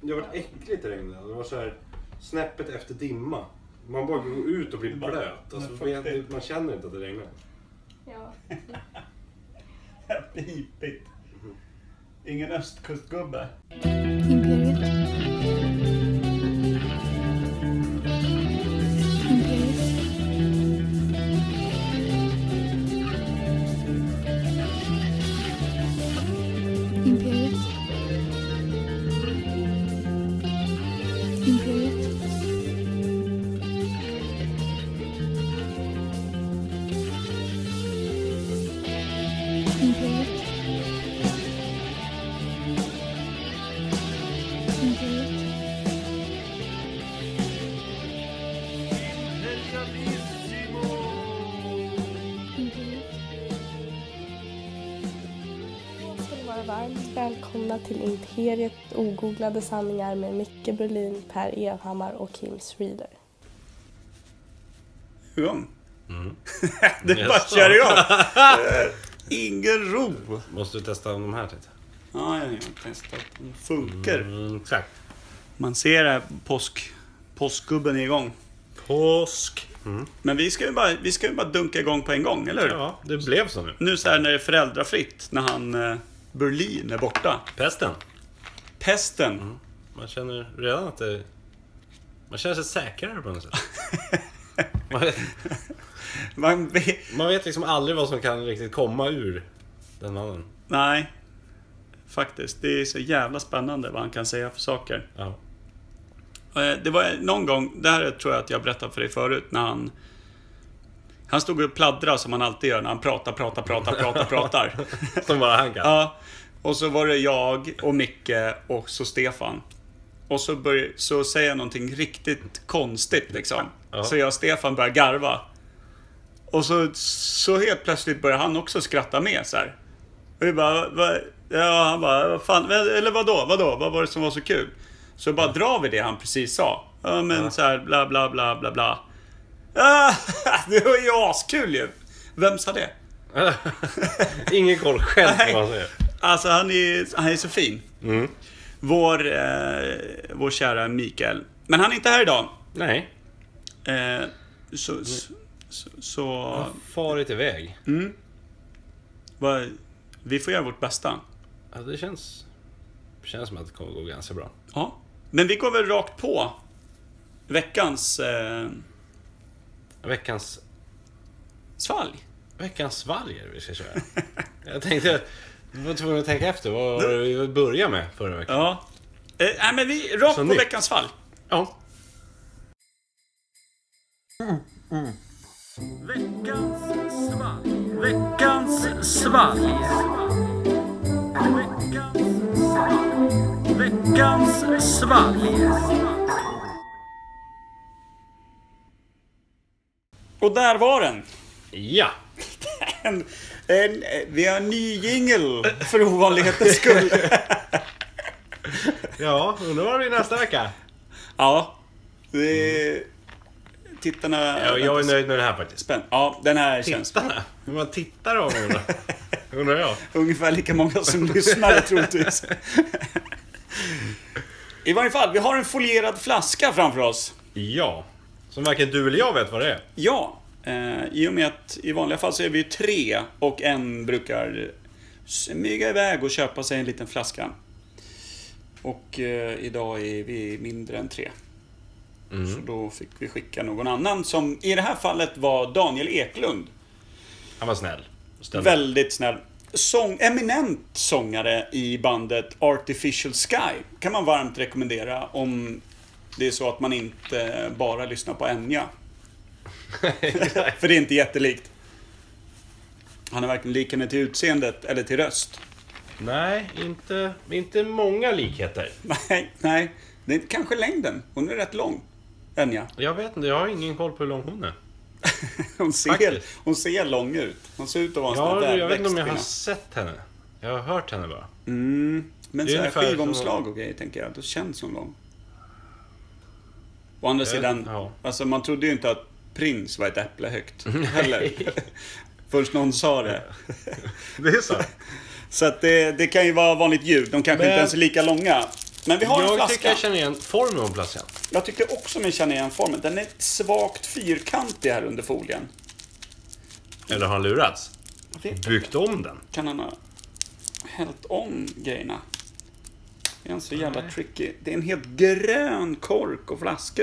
Det var äckligt i regnet. Det var så här snäppet efter dimma. Man bara går ut och blir Bara, blöt. men Alltså, fuck man, it. man känner inte att det regnar. Ja. Pipigt. Ingen östkustgubbe. Imperiet. Imperiet. Imperiet. Imperiet. Imperiet. Imperiet. Imperiet. Då ska ni vara varmt välkomna till Imperiet ogooglade sanningar med Micke Berlin, Per Evhammar och Kim Reader. Igång. Mm. det Nästa. bara kör igång. Eh, Ingen ro. Måste du testa de här lite? Ja, jag har testat. Den funkar. Mm, exakt. Man ser det här påsk... Påskgubben är igång. Påsk. Men vi ska, ju bara, vi ska ju bara dunka igång på en gång, eller hur? Mm. Ja, det blev så nu. Nu så här när det är föräldrafritt, när han eh, Berlin är borta. Pesten. Pesten. Mm. Man känner redan att det... Man känner sig säkrare på något sätt. Man vet, Man vet, man vet liksom aldrig vad som kan riktigt komma ur den mannen. nej, faktiskt. Det är så jävla spännande vad han kan säga för saker. Ja. Eh, Det var någon gång, det här tror jag att jag berättade för dig förut, när han... Han stod och pladdrade som han alltid gör när han pratar, pratar, pratar, pratar, pratar. Som bara han kan. ja. Och så var det jag och Micke och så Stefan. Och så, börj- så säger jag någonting riktigt konstigt liksom. Ja. Så jag och Stefan börjar garva. Och så, så helt plötsligt börjar han också skratta med så här. Och vi bara, va, ja, han bara, vad fan, eller vadå, vadå, vad var det som var så kul? Så bara drar vi det han precis sa. Ja, men så här, bla, bla, bla, bla, bla. Ah, det var ju askul ju! Vem sa det? Ingen koll själv på Nej. vad han säger. Alltså han är, han är så fin. Mm. Vår, eh, vår kära Mikael. Men han är inte här idag. Nej. Eh, så, så, så, så Farit iväg. vad, vi får göra vårt bästa. Ja, det känns... Känns som att det kommer gå ganska bra. Ja. Men vi går väl rakt på veckans eh, Veckans svalg. Veckans svalger vi ska köra. Jag tänkte... Jag var tvungen att tänka efter. Vad var det vi började med förra veckan? Ja. Eh, nej, men vi rakt Så på nytt. veckans svalg. Ja. Och där var den. Ja. En, en, eh, vi har en ny jingle för ovanlighetens skull. Ja, undrar vad det blir nästa vecka. ja. Det, tittarna... Ja, jag är nöjd med det här faktiskt. Spänn. Ja, den här känns Tittarna? Hur man tittar av mig undrar- undrar jag. ungefär lika många som lyssnar troligtvis. I varje fall, vi har en folierad flaska framför oss. Ja. Som varken du eller jag vet vad det är. Ja, eh, i och med att i vanliga fall så är vi ju tre och en brukar smyga iväg och köpa sig en liten flaska. Och eh, idag är vi mindre än tre. Så då fick vi skicka någon annan som i det här fallet var Daniel Eklund. Han var snäll. Ställ- Väldigt snäll. Sång, eminent sångare i bandet Artificial Sky kan man varmt rekommendera om det är så att man inte bara lyssnar på Enya. För det är inte jättelikt. Han är varken lik henne till utseendet eller till röst. Nej, inte, inte många likheter. Nej, nej. Det är kanske längden. Hon är rätt lång. Enya. Jag vet inte, jag har ingen koll på hur lång hon är. Hon ser, Faktiskt. hon ser lång ut. Hon ser ut att vara en sån Jag, där jag vet inte om jag har växtkvinna. sett henne. Jag har hört henne bara. Men Det är så här ungefär skivomslag och grejer tänker jag, då känns hon lång. Å andra Ja, sidan, ja. alltså man trodde ju inte att prins var ett äpple högt heller. Först någon sa det. Det är så? Så att det, det kan ju vara vanligt ljud, de kanske Men- inte ens är lika långa. Men vi har en Jag flaska. tycker jag känner igen formen plötsligt. Jag tycker också mig känna igen formen. Den är svagt fyrkantig här under folien. Eller har han lurats? Byggt om den? Kan han ha hällt om grejerna? Det är en så jävla tricky. Det är en helt grön kork och flaska.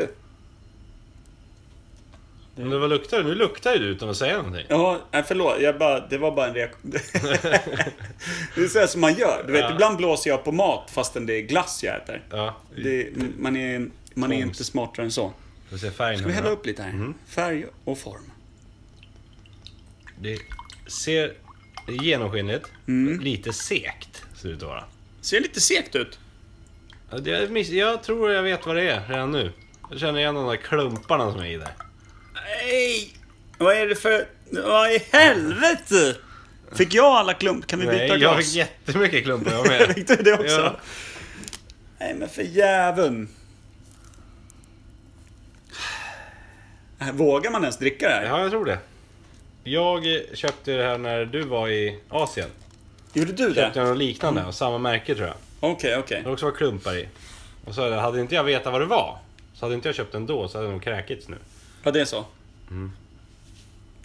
Men vad luktar det? Nu luktar ju du utan att säga någonting. Ja, nej, förlåt. Jag bara, det var bara en reaktion. det är så här som man gör. Du vet, Ja. ibland blåser jag på mat fastän det är glass jag äter. Ja. Det, man är, man Konst. är Mm. inte smartare än så. Får se färgen. Ska vi hälla upp lite här? Färg och form. Det ser genomskinligt. Mm. Lite sekt ser det ut att vara. Ser lite segt ut. Ja, det- Jag, miss, jag tror jag vet vad det är redan nu. Jag känner igen de där klumparna som är i där. Nej! Vad är det för... Vad i helvete! Fick jag alla klump? Kan vi byta Nej, jag glas? fick jättemycket klumpar jag med. Fick du det också? Ja. Nej men för jäveln. Äh, Vågar man ens dricka det här? Ja, jag tror det. Jag eh, köpte det här när du var i Asien. Gjorde du det? Köpte jag något liknande av samma märke tror jag. Okej, okej. Det också var klumpar i. Och så hade inte jag vetat vad det var, så hade inte jag köpt den då så hade de kräkits nu. Ja, det är så.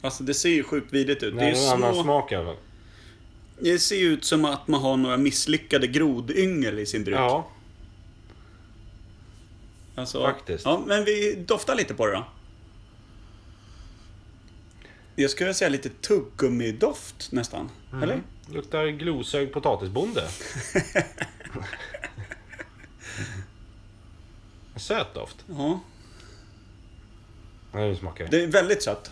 Alltså det ser ju sjukt vidrigt ut. Mm. Nej, det, det är är en annan små, smak i alla fall. det ser ju ut som att man har några misslyckade grodyngel i sin bruk. Ja, Alltså, Faktiskt. Ja, men vi doftar lite på det då. Jag skulle säga lite tuggummidoft nästan. Mm. Eller? luktar glosögd potatisbonde. En Söt doft. Ja. Nej, nu smakar det. Det är väldigt sött.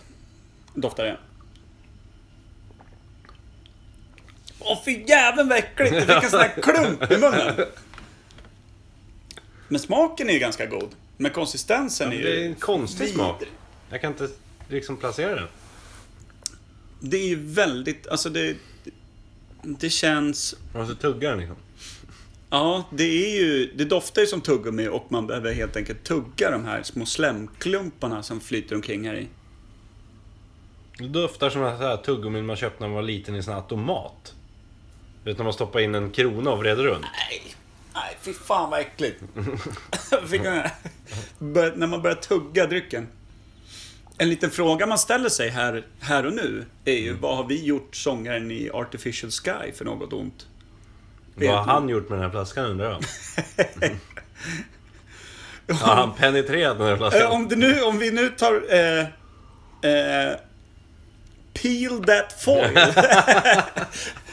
Doftar det. Åh, för jäveln vad äckligt! Jag fick en sån här klump i munnen. Men smaken är ju ganska god. Men konsistensen är ju... Det är en konstig vidrig. smak. Jag kan inte liksom placera den. Det är ju väldigt... Alltså det... Det känns... Man måste tugga den liksom. Ja, det är ju... Det doftar ju som tuggummi och man behöver helt enkelt tugga de här små slemklumparna som flyter omkring här i. Det doftar som så här tuggummin man köpte när man var liten i en sån här automat. Du vet när man stoppar in en krona och vrider runt. Nej, nej fy fan vad äckligt. Fick jag- Bör, när man börjar tugga drycken. En liten fråga man ställer sig här, här och nu är Mm. ju vad har vi gjort sångaren i Artificial Sky för något ont? Vad har Vet du? han gjort med den här flaskan undrar jag? Har han penetrerat den här Eh, flaskan? om, det nu, om vi nu tar... Eh, eh, peel that foil.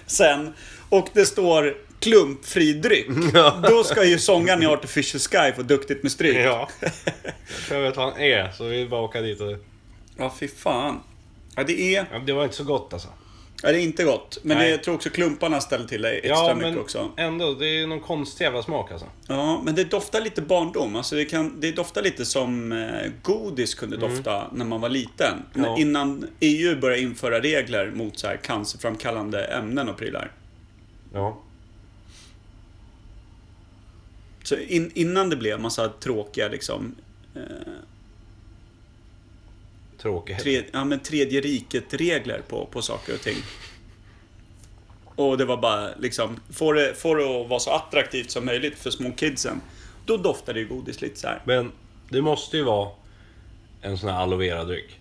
Sen. Och det står klumpfri dryck. Då ska ju sångaren i Artificial Sky få duktigt med stryk. Ja. Jag tror jag vet vad han är, så vi bara åka dit och... Ja, fy fan. Ja, det är, Ja, det var inte så gott alltså. ja, det är inte gott. Men Nej. det, jag tror också klumparna ställer till dig extra Ja, mycket men också. ändå. Det är någon konstig jävla smak alltså. Ja, men det doftar lite barndom. Alltså det, kan, det doftar lite som eh, godis kunde dofta när man var liten. Mm. Ja. När, innan EU började införa regler mot så här cancerframkallande ämnen och prylar. Ja. Så in, innan det blev massa tråkiga liksom, Tråkigt. tre, ja, men tredje riket-regler på, på saker och ting. Och det var bara liksom, får det, får det att vara så attraktivt som möjligt för små kidsen. Då doftar det ju godis lite så här. Men det måste ju vara en sån här aloe vera-dryck.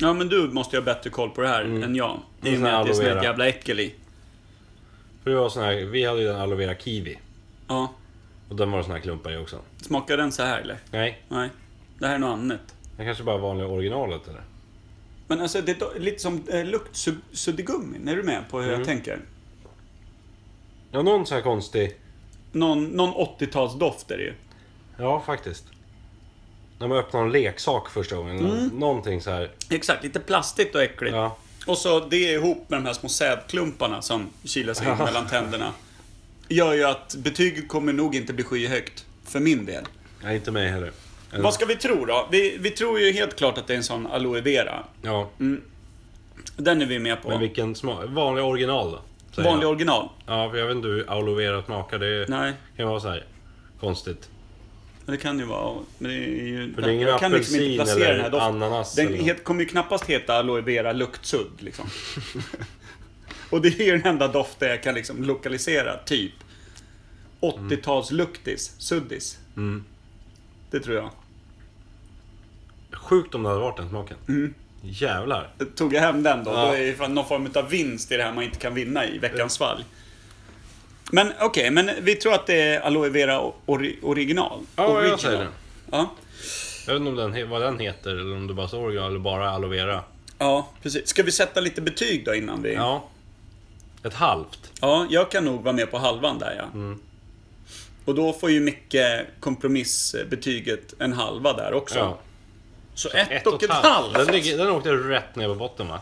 Ja men du måste ju ha bättre koll på det här Mm. än jag. I och sån här med att det är sån aloe här vera. jävla äckel i. För det var sån här, vi hade ju den aloe vera kiwi. Ja. Och den var det såna här klumpar i också. Smakar den så här eller? Nej, Nej. Det här är något annat. den kanske bara vanliga originalet eller? Men alltså det är do- lite som eh, luktsuddigummin. Är du med på hur Mm. jag tänker? Ja, någon sån här konstig. Någon, någon 80-talsdoft är det ju. Ja, faktiskt. När man öppnar en leksak första gången. Mm. Någonting så här. Exakt, lite plastigt och äckligt. Ja. Och så det ihop med de här små sädklumparna som kilar sig in mellan tänderna. Gör ju att betyget kommer nog inte bli skyhögt. För min del. Nej, inte mig heller. Eller- Vad ska vi tro då? Vi, vi tror ju helt klart att det är en sån aloe vera. Ja, Mm. Den är vi med på. men vilken smak? Vanlig original då? säger Vanlig jag. original. Ja, för jag vet inte hur aloe vera smakar. Det Nej, kan vara så här konstigt. men det kan ju vara. Men det är ju, För det är ingen jag kan liksom apelsin inte placera den här eller doften. ananas. Den eller... het, kommer ju knappast heta aloe vera luktsudd liksom. Och det är ju den enda doften jag kan liksom lokalisera, typ. 80-tals-luktis, suddis. Mm. Det tror jag. Sjukt om det hade varit den smaken. Mm. Jävlar. Tog jag hem den då, Ja. då är det fan någon form av vinst i det här man inte kan vinna i veckans svalg. Men okej, men vi tror att det är aloe vera ori- original. Ja, Original. jag säger det. Ja, Jag vet inte om den, he- vad den heter eller om det bara står original eller bara aloe Mm. vera. ja, precis. Ska vi sätta lite betyg då innan vi... Ja. Ett halvt. Ja, jag kan nog vara med på halvan där ja. Och då får ju Micke kompromissbetyget en halva där också. Ja. Så, ett, och, ett halvt. Den, ligger, den åkte rätt ner på botten va?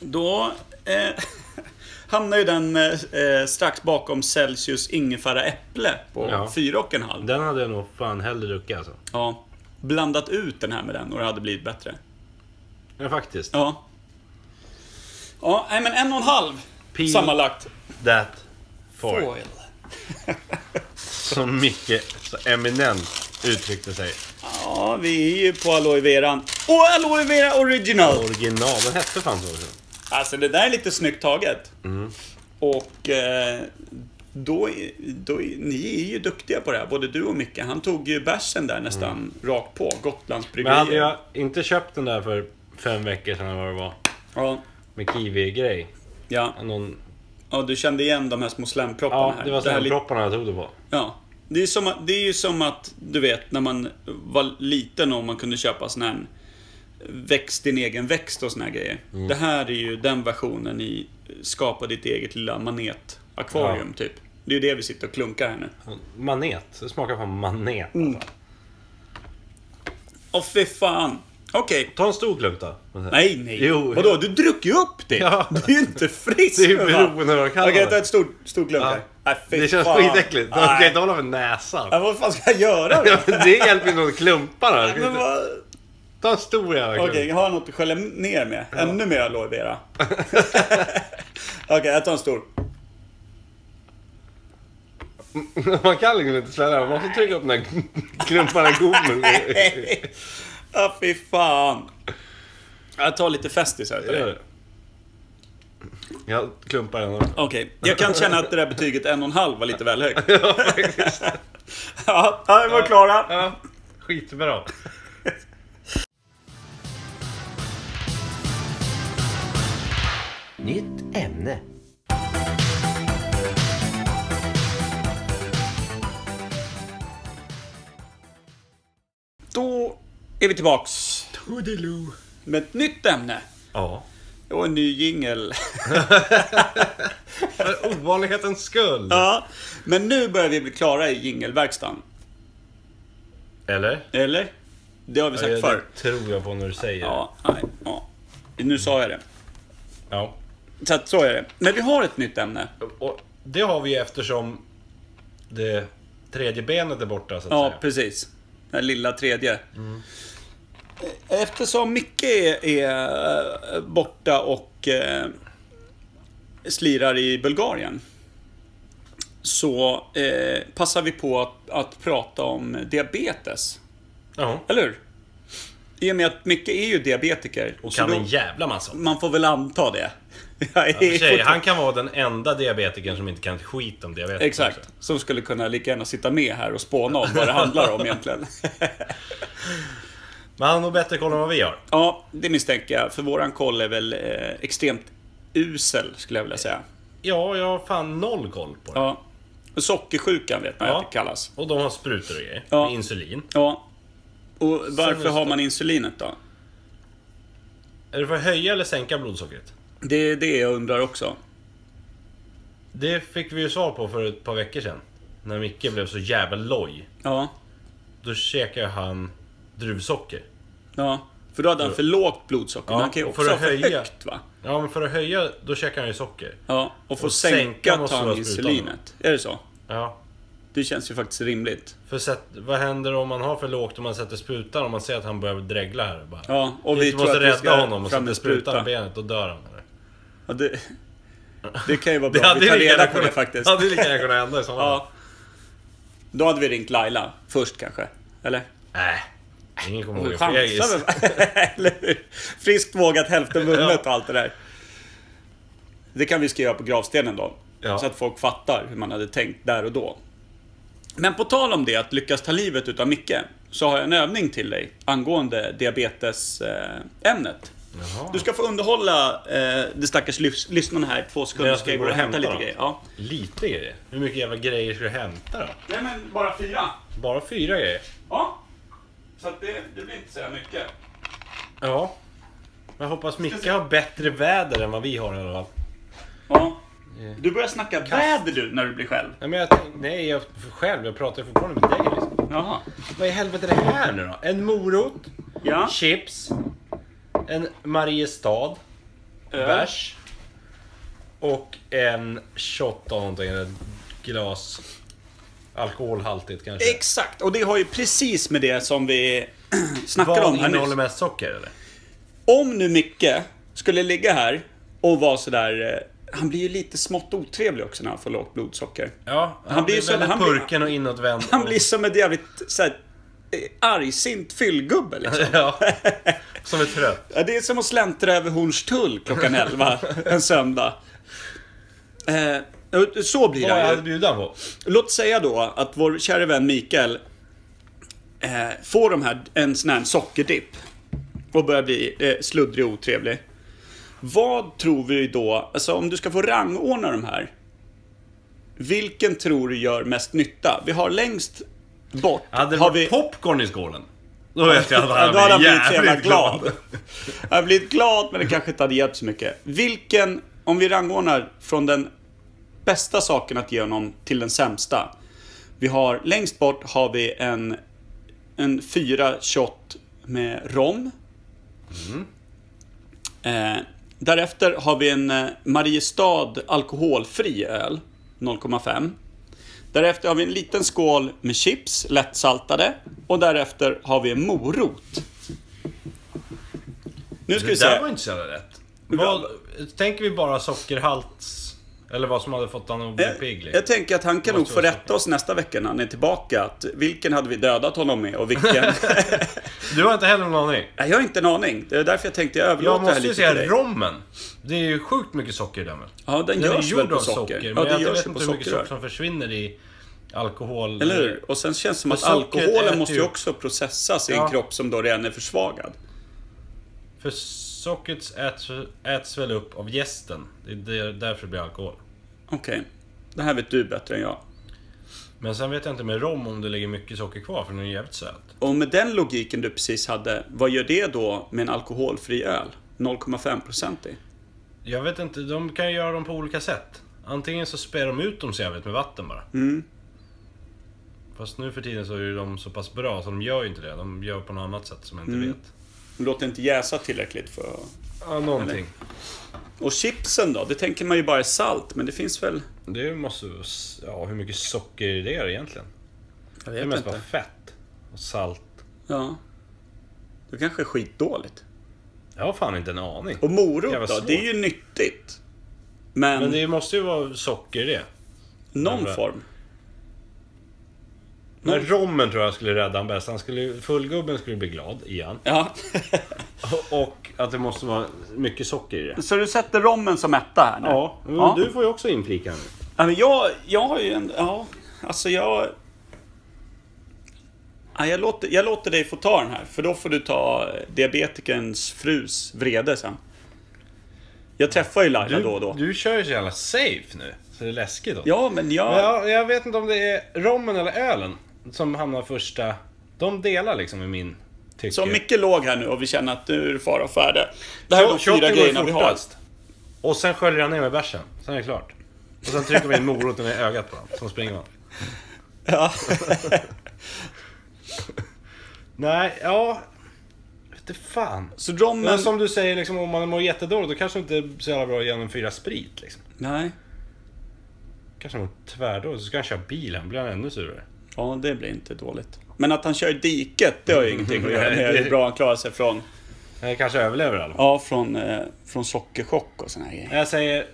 Då eh, hamnar ju den eh, strax bakom Celsius ingefära äpple på Ja. fyra och en halv. Den hade jag nog fan hellre druckit alltså. Ja. Blandat ut den här med den och det hade blivit bättre. Ja, faktiskt. Ja. Ja, nej men en och en halv Peel. sammanlagt. That for. Som Micke så eminent uttryckte sig. Ja, vi är ju på aloe veran. Och aloe vera original! Original. Den hette fan så också. Alltså det där är lite snyggt taget. Och eh, då, är- då, är- ni är ju duktiga på det här, både du och Micke. Han tog ju bärsen där nästan rakt på, Men hade Gotlandsbryggerier. jag inte köpt den där för fem veckor sedan eller vad det var. Ja, Med kiwi-grej. ja. Någon... ja, du kände igen de här små slämpropparna Ja, här. det var här li- slämpropparna jag tog det på. Ja. Det är, som att, det är ju som att, du vet, när man var liten och man kunde köpa sån här växt, din egen växt och såna här grejer. Mm. Det här är ju den versionen i skapa ditt eget lilla manet-akvarium, typ. Det är ju det vi sitter och klunkar här nu. Manet. Det smakar fan manet alltså. Mm. Åh fy fan. Okej. Ta en stor klunk då. Nej, nej. Jo. Vadå? Du druck ju upp det. Ja. Du är ju inte frisk. Det är ju för fan. beroende av vad jag kallar Okej, det. ta ett stort, stort glögg här. Nej, fy det känns fan. skitäckligt. Man kan Nej. inte hålla för näsan. Ja, vad fan ska jag göra Ja, då? men det hjälper ju inte mot klumparna. Ska Men inte- vad... Ta en stor jävla klump. Okej, jag har något att skölja ner med. Ännu mer aloe vera. Okej, jag tar en stor. Man kan liksom inte svälja. Man måste trycka upp den där klumparna gommen. Ja, fy fan. Jag tar lite Festis här utav Gör dig. det. Jag klumpar den också. Okej, jag kan känna att det där betyget en och en halv var lite väl högt. Ja, faktiskt. Ja, vi var klara. Ja, skitbra. Nytt ämne. Då är vi tillbaks. Toodiloo. Med ett nytt ämne. Ja. Och en ny jingel. För ovanlighetens skull. ja. Men nu börjar vi bli klara i jingelverkstan. Eller? Eller? Det har vi sagt förr. det tror jag på när du säger det. Ja, nej, ja. Nu sa jag det. ja. Så att så är det. Men vi har ett nytt ämne. Och det har vi ju eftersom det tredje benet är borta så att Ja, säga. Mm. precis. Den lilla tredje. Eftersom Micke är, är eh, borta och eh, slirar i Bulgarien. Så eh, passar vi på att, att prata om diabetes. Ja. Eller hur? I och med att Micke är ju diabetiker. Och så kan då- en jävla massa. man får väl anta det. Jag Ja, är för sig, fortfarande- han kan vara den enda diabetikern som inte kan ett skit om diabetes. Exakt. Som skulle kunna lika gärna sitta med här och spåna om vad det handlar om egentligen. Men han har nog bättre koll än vad vi har. Ja, det misstänker jag. För våran koll är väl eh, extremt usel, skulle jag vilja säga. Ja, jag har fan noll koll på det. Ja. Sockersjukan vet man Ja. att det kallas. Och de har sprutor och grejer. Ja. Med insulin. Ja. Och varför Sinister. har man insulinet då? Är det för att höja eller sänka blodsockret? Det är det jag undrar också. Det fick vi ju svar på för ett par veckor sedan. När Micke blev så jävla loj. Ja. Då käkade han druvsocker. ja. För då hade han för lågt blodsocker. Ja, men han kan ju och för också ha att för höja. högt va? Ja, men för att höja, då käkar han ju socker. Ja. Och för att Och sänka sänka måste tar han vara sprutan, insulinet. Är det så? Ja. Det känns ju faktiskt rimligt. För sätt, vad händer om man har för lågt och man sätter sprutan? Om man ser att han börjar dregla här. Bara. Ja, och vi Shit, tror måste att vi ska rädda honom och fram med sätter sprutan i spruta. benet, då dör han. Eller? Ja, det, det kan ju vara bra. vi tar reda på det faktiskt. hade ju lika gärna kunnat hända i sådana fall. Ja. Då hade vi ringt Laila först kanske. Eller? Nej, ingen kommer ihåg. Chansar Fegis. väl? Eller hur? Friskt vågat hälften vunnet och allt det där. Det kan vi skriva på gravstenen då. Ja. Så att folk fattar hur man hade tänkt där och då. Men på tal om det, att lyckas ta livet utav Micke, så har jag en övning till dig angående diabetesämnet. Eh, ämnet. Jaha. du ska få underhålla eh, det stackars lys- lyssnarna här i två sekunder. Jag ska Ska jag gå och hämta lite dem. grejer? Ja. Lite grejer? Hur mycket jävla grejer ska du hämta då? Nej, men bara fyra. Bara fyra grejer? Ja. Så att det, det blir inte så jävla mycket. Ja. Jag hoppas Micke har bättre väder än vad vi har i alla fall. Ja. Eh. Du börjar snacka väder du när du blir själv. Nej, men jag tänk, nej jag, för själv. Jag pratar ju fortfarande med dig liksom. Jaha. Vad i helvete är det här nu då? En morot, Ja. chips, en Mariestad, Öl. bärs och en shot av någonting. Ett glas alkoholhaltigt kanske. Eh, Exakt, och det har ju precis med det som vi snackade om Vad här nyss. innehåller mest socker eller? Om nu Micke skulle ligga här och vara sådär... eh, Han blir ju lite smått otrevlig också när han får lågt blodsocker. Ja, han, blir blir, så- väldigt han blir- purken och inåtvänd. Han och- blir som en jävligt såhär, eh, argsint fyllgubbe liksom. Ja. Som är trött. Ja, Det är som att släntra över Hornstull klockan 11 en söndag. Eh, så blir Vad jag han hade ju. bjudit han på? Låt säga då att vår kära vän Mikael eh, får de här, en sån här sockerdipp och börjar bli eh, sluddrig och otrevlig. Vad tror vi då, alltså om du ska få rangordna de här, vilken tror du gör mest nytta? Vi har längst bort, Hade det har varit vi... popcorn i skålen? Då vet jag att han Ja, då hade han hade blivit så jävla jävligt glad. glad. Han hade blivit glad, men det kanske inte hade hjälpt så mycket. Vilken, om vi rangordnar från den bästa saken att ge honom till den sämsta. Vi har, längst bort har vi en, en fyra shot med rom. Eh, därefter har vi en eh, Mariestad alkoholfri öl, 0,5. Därefter har vi en liten skål med chips, lättsaltade. Och därefter har vi en morot. Nu ska vi Det där var se. inte så jävla rätt. Vad, tänker vi bara sockerhalts... Eller vad som hade fått honom att bli pigg? Eh, Jag tänker att han kan nog Måste få vara rätta oss nästa vecka när han är tillbaka. Att vilken hade vi dödat honom med och vilken... Du har inte heller någon aning? Nej, jag har inte en aning. Det är därför jag tänkte jag överlåter Jag det här måste ju lite till säga dig. rommen. Det är ju sjukt mycket socker i den väl? Ja, den Den är görs väl gjord på av socker. socker. ja, Men det jag görs vet ju på inte hur mycket socker sockerrör. som försvinner i alkohol. Eller hur? Och sen känns det som För att sockret äter alkoholen måste ju ju- också processas i en Ja. kropp som då redan är försvagad. För sockret äts, äts väl upp av gästen. Det är där- därför det blir alkohol. Okej. Det här vet du bättre än jag. Men sen vet jag inte med rom om det ligger mycket socker kvar för den är jävligt söt. Och med den logiken du precis hade, vad gör det då med en alkoholfri öl? 0,5% i. Jag vet inte, de kan ju göra dem på olika sätt. Antingen så spär de ut dem så jävligt med vatten bara. Fast nu för tiden så är ju de så pass bra så de gör ju inte det. De gör på något annat sätt som jag inte vet. Låt inte jäsa tillräckligt för att- Ja, någonting. Och chipsen då? Det tänker man ju bara är salt, men det finns väl... Det måste... Ja, hur mycket socker är det egentligen? Jag Det är vet mest bara inte. fett och salt. Ja. Det kanske är skitdåligt. Jag har fan inte en aning. Och morot Jävla då? svårt. Det är ju nyttigt. Men, Men det måste ju vara socker i det. någon men- form. Men rommen tror jag skulle rädda han bäst. Han skulle, ju- fullgubben skulle bli glad igen. Ja. Och att det måste vara mycket socker i det. Så du sätter rommen som etta här nu? Ja, men Ja. du får ju också inflika nu. Ja, men jag, jag har ju en... Ja, alltså jag... Ja, jag, låter, jag låter dig få ta den här, för då får du ta diabetikerns frus vrede sen. Jag träffar ju Laila då och då. Du kör ju så jävla safe nu, så det är läskigt. då. Ja, men jag... Men Jag, jag vet inte om det är rommen eller ölen som hamnar första. De delar liksom i min tycke. Så Micke låg här nu och vi känner att nu är det fara och färde. Det här är de Shotten fyra går grejerna vi har. fortast. Och sen sköljer han ner med bärsen, sen är det klart. Och sen trycker vi in moroten i ögat på honom, så springer man. Ja. Nej, ja... Vete fan. Så rommen... Men, som du säger, liksom, om man mår jättedåligt då kanske det inte är så jävla bra att genomföra sprit. Liksom. Nej. Kanske mår tvärdåligt, så ska han köra bilen, blir han ännu surare. Ja, det blir inte dåligt. Men att han kör i diket, det har ju ingenting att göra med hur bra han klarar sig från... Han kanske överlever i alla fall. Ja, från, eh, från sockerchock och såna här grejer. Jag säger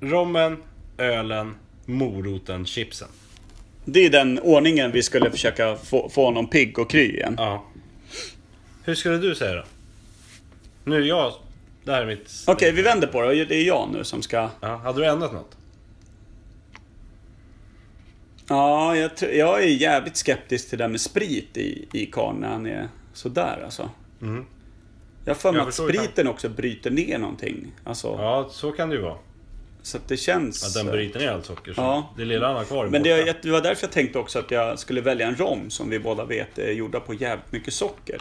rommen, ölen, moroten, chipsen. Det är den ordningen vi skulle försöka få, få honom pigg och kry igen. Ja. Hur skulle du säga då? Nu är jag... Det här är mitt... Okej, vi vänder på det. Det är jag nu som ska... Ja, hade du ändrat något? Ja, jag, tr- jag är jävligt skeptisk till det där med sprit i, i karln när han är sådär alltså. Jag har för mig Mm. Jag att förstår ju spriten också bryter ner någonting. Alltså, Ja, så kan det ju vara. Så att det känns... Att den bryter ner allt socker. Så Ja. Det lilla han har kvar är Men det, borta. jag- det var därför jag tänkte också att jag skulle välja en rom som vi båda vet är gjorda på jävligt mycket socker.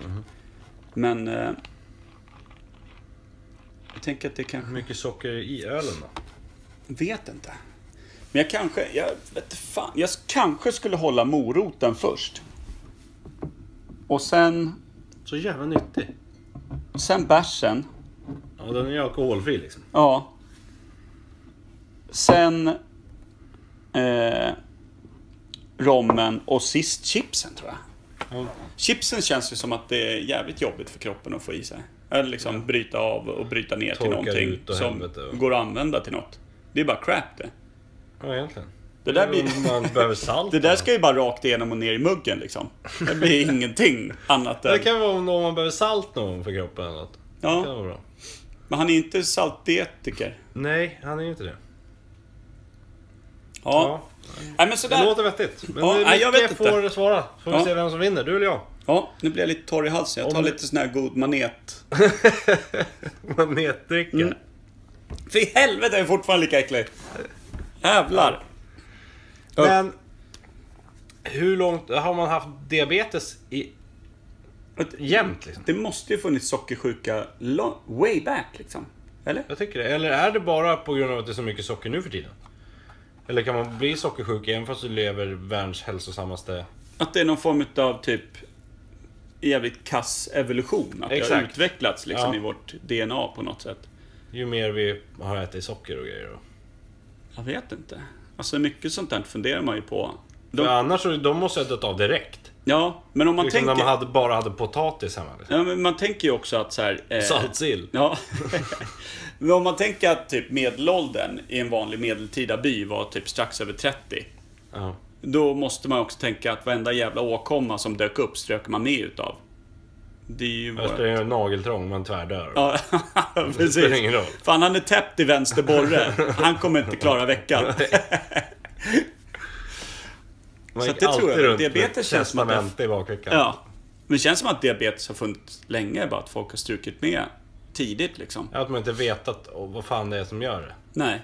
Men... Eh, jag tänker att det kanske... Hur mycket socker i ölen då? Vet inte. Men jag kanske... Jag vet inte fan. Jag kanske skulle hålla moroten först. Och sen... Så jävla nyttig. Sen bärsen. Ja, den är ju alkoholfri liksom. Ja. Sen... Eh, rommen och sist chipsen tror jag. Chipsen känns ju som att det är jävligt jobbigt för kroppen att få i sig. Eller liksom bryta av och bryta ner till Torkar någonting ut och som helvete, va? går att använda till något. Det är bara crap det. Ja, egentligen. Det där blir... Om Man behöver salt. Det där ska ju bara rakt igenom och ner i muggen liksom. Det blir ingenting annat Det än... kan vara om om man behöver salt någon för kroppen eller något. Det kan Ja, vara bra. men han är inte saltdietiker. Nej, han är ju inte det. Ja. Ja. Nej men Det sådär. låter vettigt. Men Ja, ja, nej, jag vet får inte. svara. Får vi Ja. se vem som vinner, du eller jag? Ja, nu blir jag lite torr i halsen. Jag tar Om- lite sån här god manet. Manetdricka. Mm. Fy helvete, jag är fortfarande lika äcklig. Jävlar. Ja. Men hur långt har man haft diabetes i, jämt? Liksom? Det måste ju funnits sockersjuka lo- way back liksom. Eller? Jag tycker det. Eller är det bara på grund av att det är så mycket socker nu för tiden? Eller kan man bli sockersjuk även fast du lever världens hälsosammaste... Att det är någon form av typ jävligt kass evolution. Att det har Exakt. utvecklats liksom Ja. i vårt DNA på något sätt. Ju mer vi har ätit socker och grejer. Och. Jag vet inte. Alltså mycket sånt där funderar man ju på. För De, annars så, de måste ha dött av direkt. ja, men om man liksom tänker... när man hade, bara hade potatis hemma. Liksom. Ja, men man tänker ju också att så här... eh, Saltsill. Ja. Men om man tänker att typ medelåldern i en vanlig medeltida by var typ strax över 30. Ja. Då måste man också tänka att varenda jävla åkomma som dök upp strök man med utav. Det är ju Fast våra... det är nageltrång, man tvärdör. Ja, Det spelar precis. ingen roll. Fan, han är täppt i vänster borre. Han kommer inte klara veckan. Man Så gick det tror alltid jag. runt med Diabetes känns som att det- testamente i bakfickan. Ja. Men det känns som att diabetes har funnits länge, bara att folk har strukit med tidigt liksom. Att man inte vetat oh, vad fan det är som gör det. Nej.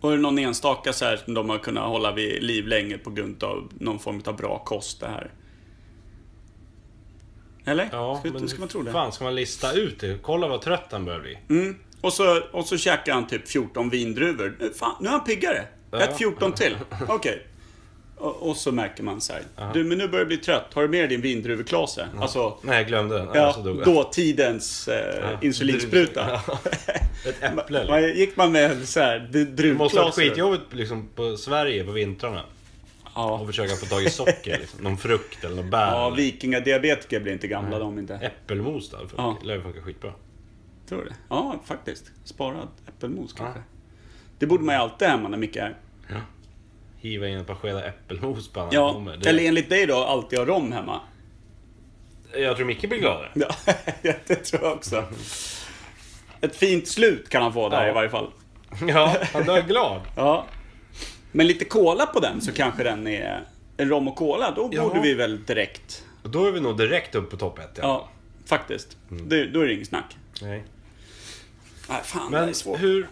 Och är det någon enstaka så här som de har kunnat hålla vid liv länge på grund av någon form av bra kost det här? Eller? Ja, ska, men ska man tro det? fan ska man lista ut det? Kolla vad trött han börjar bli. Mm. Och, så, och så käkar han typ 14 vindruvor. Nu, Fan, nu är han piggare! Ja. Ät 14 till. Okej. Och, och så märker man så här. Du, men nu börjar jag bli trött. Har du med dig din vindruveklase? Alltså, Nej, jag glömde den. Ja, ja, så dog jag. dåtidens eh, insulinspruta. Ett äpple. Man- eller? man, gick man med så här, Det måste ha varit druvklaser? skitjobbigt liksom, på Sverige på vintrarna. Ja. Och försöka få tag i socker. Liksom. Någon frukt eller någon bär. Ja, eller vikingadiabetiker blir inte gamla de inte. Äppelmos där. Ja. funkar- lär ju funka skitbra. Tror du det? Ja, faktiskt. Sparad äppelmos Ah. kanske. Det borde man ju alltid hemma när Micke är. Hiva in ett par skedar äppelmos på när han Ja, kommer. eller Det, enligt dig då, alltid ha rom hemma. jag tror Micke blir gladare. Ja, det tror jag också. Ett fint slut kan han få där Ja. i varje fall. Ja, han dör glad. Ja. Men lite cola på den så kanske den är... En rom och cola, då Ja. borde vi väl direkt... Och då är vi nog direkt upp på topp ett. Ja, faktiskt. Mm. Det, då är det inget snack. Nej. Nej, fan det är Men svårt. hur...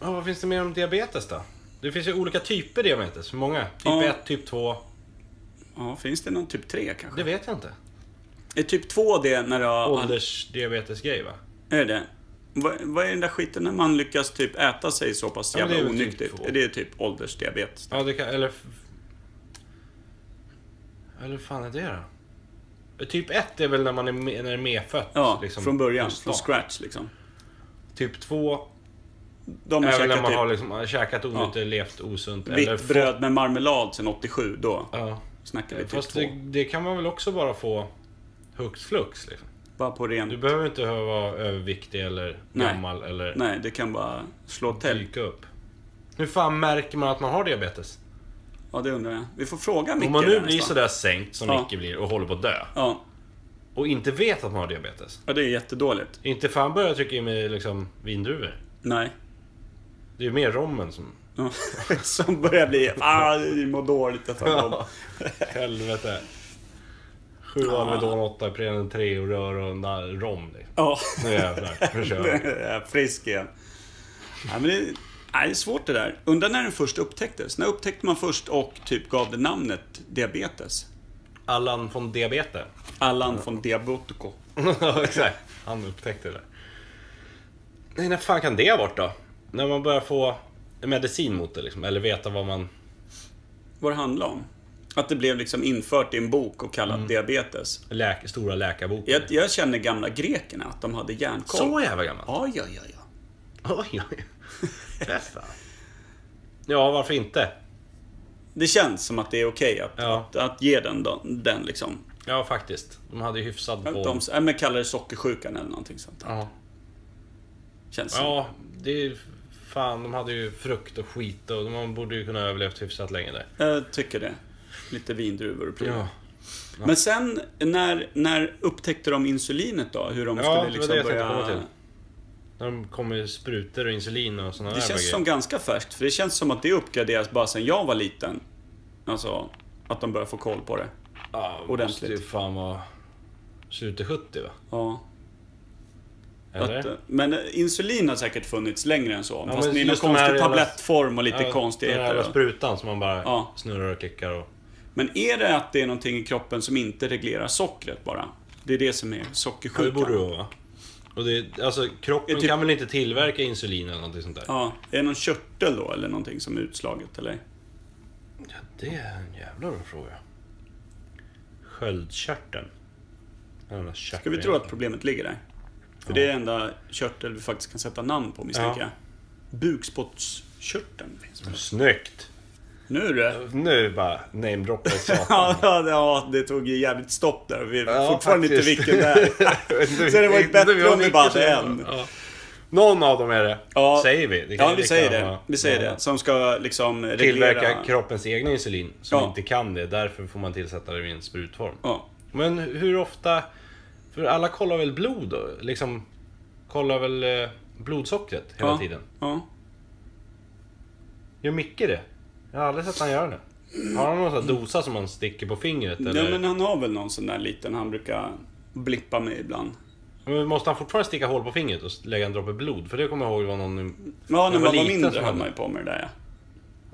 Ja, vad finns det mer om diabetes då? Det finns ju olika typer diabetes. Hur många? Typ Ja. 1, typ 2. Ja, finns det någon typ 3 kanske? Det vet jag inte. Är typ 2 det när du har... Åldersdiabetesgrej va? Är det? Vad, vad är den där skiten när man lyckas typ äta sig så pass Ja, men jävla det är väl typ onyktigt? två. är det typ åldersdiabetes? Ja, det kan... Eller... Eller vad fan är det då? Typ 1 är väl när man är, med, när det är medfött? Ja, liksom, från början. från Från start. scratch liksom. Typ 2 De har är väl när käkat man typ har liksom, käkat onyttigt, levt osunt. eller vitt fått- bröd med marmelad sen 87. Då Ja. snackar vi typ Fast två. det, det kan man väl också bara få hux flux liksom. Bara på Du ren... behöver inte vara överviktig eller Nej. gammal eller Nej, det kan bara slå till. dyka upp. Hur fan märker man att man har diabetes? Ja, det undrar jag. Vi får fråga Micke Om man nu där blir nästan. sådär sänkt som Ja. Micke blir och håller på att dö Ja. och inte vet att man har diabetes. ja, det är jättedåligt. Inte fan börjar jag trycka i mig liksom vindruvor. Nej. Det är ju mer rommen som... Ja, Som börjar bli... Ah, vi mår dåligt att ta dem. Helvete. Sju Ja. Alvedon, åtta Ipren, tre och rör och en där rom. liksom. Ja. Nu jävlar, nu kör vi. Jag är frisk igen. Ja, men det, nej, det är svårt det där. Undrar när den först upptäcktes. När upptäckte man först och typ gav det namnet diabetes? Allan von Diabete. Allan von Diabetico. Ja, exakt. Han upptäckte det. Nej, när fan kan det ha varit då? När man börjar få medicin mot det liksom, eller veta vad man... Vad det handlar om? Att det blev liksom infört i en bok och kallat Mm. diabetes. Läk, stora läkarboken. Jag, jag känner gamla grekerna, att de hade järnkoll. Så jävla gammal? Ja, ja, ja, ja. Oj, oj. Fy fan. Ja, varför inte? Det känns som att det är okej att, Ja. att, att ge den, den, den liksom. Ja, faktiskt. De hade ju hyfsad på... De, äh, men kallar det sockersjukan eller någonting sånt. där. Ja. Känns som. ja, det är ju... Fan, de hade ju frukt och skit och man borde ju kunna ha överlevt hyfsat länge där. Jag tycker det. Lite vindruvor och prylar. Ja, Men sen, när, när upptäckte de insulinet då? Hur de ja det var skulle liksom det jag tänkte börja... komma till. När de kom med sprutor och insulin och sådana Det där känns grejer. som ganska färskt, för det känns som att det uppgraderas bara sen jag var liten. Alltså, att de börjar få koll på det. Ja, Ordentligt. måste ju fan vara slutet 70 va? Ja. Eller? Att, eh, men eh, insulin har säkert funnits längre än så. fast men i någon just de här konstig jävla- tablettform och lite Ja, Den här konstigheter. jävla va? sprutan som man bara Ja. snurrar och klickar och... Men är det att det är någonting i kroppen som inte reglerar sockret bara? Det är det som är Ja, sockersjukan. det borde det vara va? Och det, alltså kroppen Jag typ- kan väl inte tillverka insulin eller någonting sånt där? Ja, är det någon körtel då eller någonting som är utslaget eller? Ja, det är en jävla bra fråga. Sköldkörteln. Jävla körtel. Ska vi tro att problemet ligger där? För det är det enda körtel vi faktiskt kan sätta namn på misstänker Ja. jag. Bukspottkörteln finns det. Snyggt! Nu du! Nu bara namedroppar Ja, satan. ja, ja, det tog ju jävligt stopp där. Vi vet Ja, fortfarande faktiskt. inte vilken det är. Så det var ju bättre Vi har om vi mycket bara hade som- en. Ja. Någon av dem är det, Ja. säger vi. Det kan Ja, ju vi lika säger gärna det. vara- Vi säger Ja. det. Som ska liksom reglera... Tillverka kroppens egna insulin, som Ja. inte kan det. Därför får man tillsätta det i en sprutform. Ja. Men hur ofta... För alla kollar väl blod då? Liksom, kollar väl eh, blodsockret hela ja. tiden? Ja. Gör Micke det? Jag har aldrig sett han göra det. Har han någon sån här dosa som man sticker på fingret eller? ja, men han har väl någon sån där liten han brukar blippa med ibland. Men Måste han fortfarande sticka hål på fingret och lägga en droppe blod? För det kommer jag ihåg var någon, Ja, när var man var liten mindre så höll hade- man ju på med det där ja.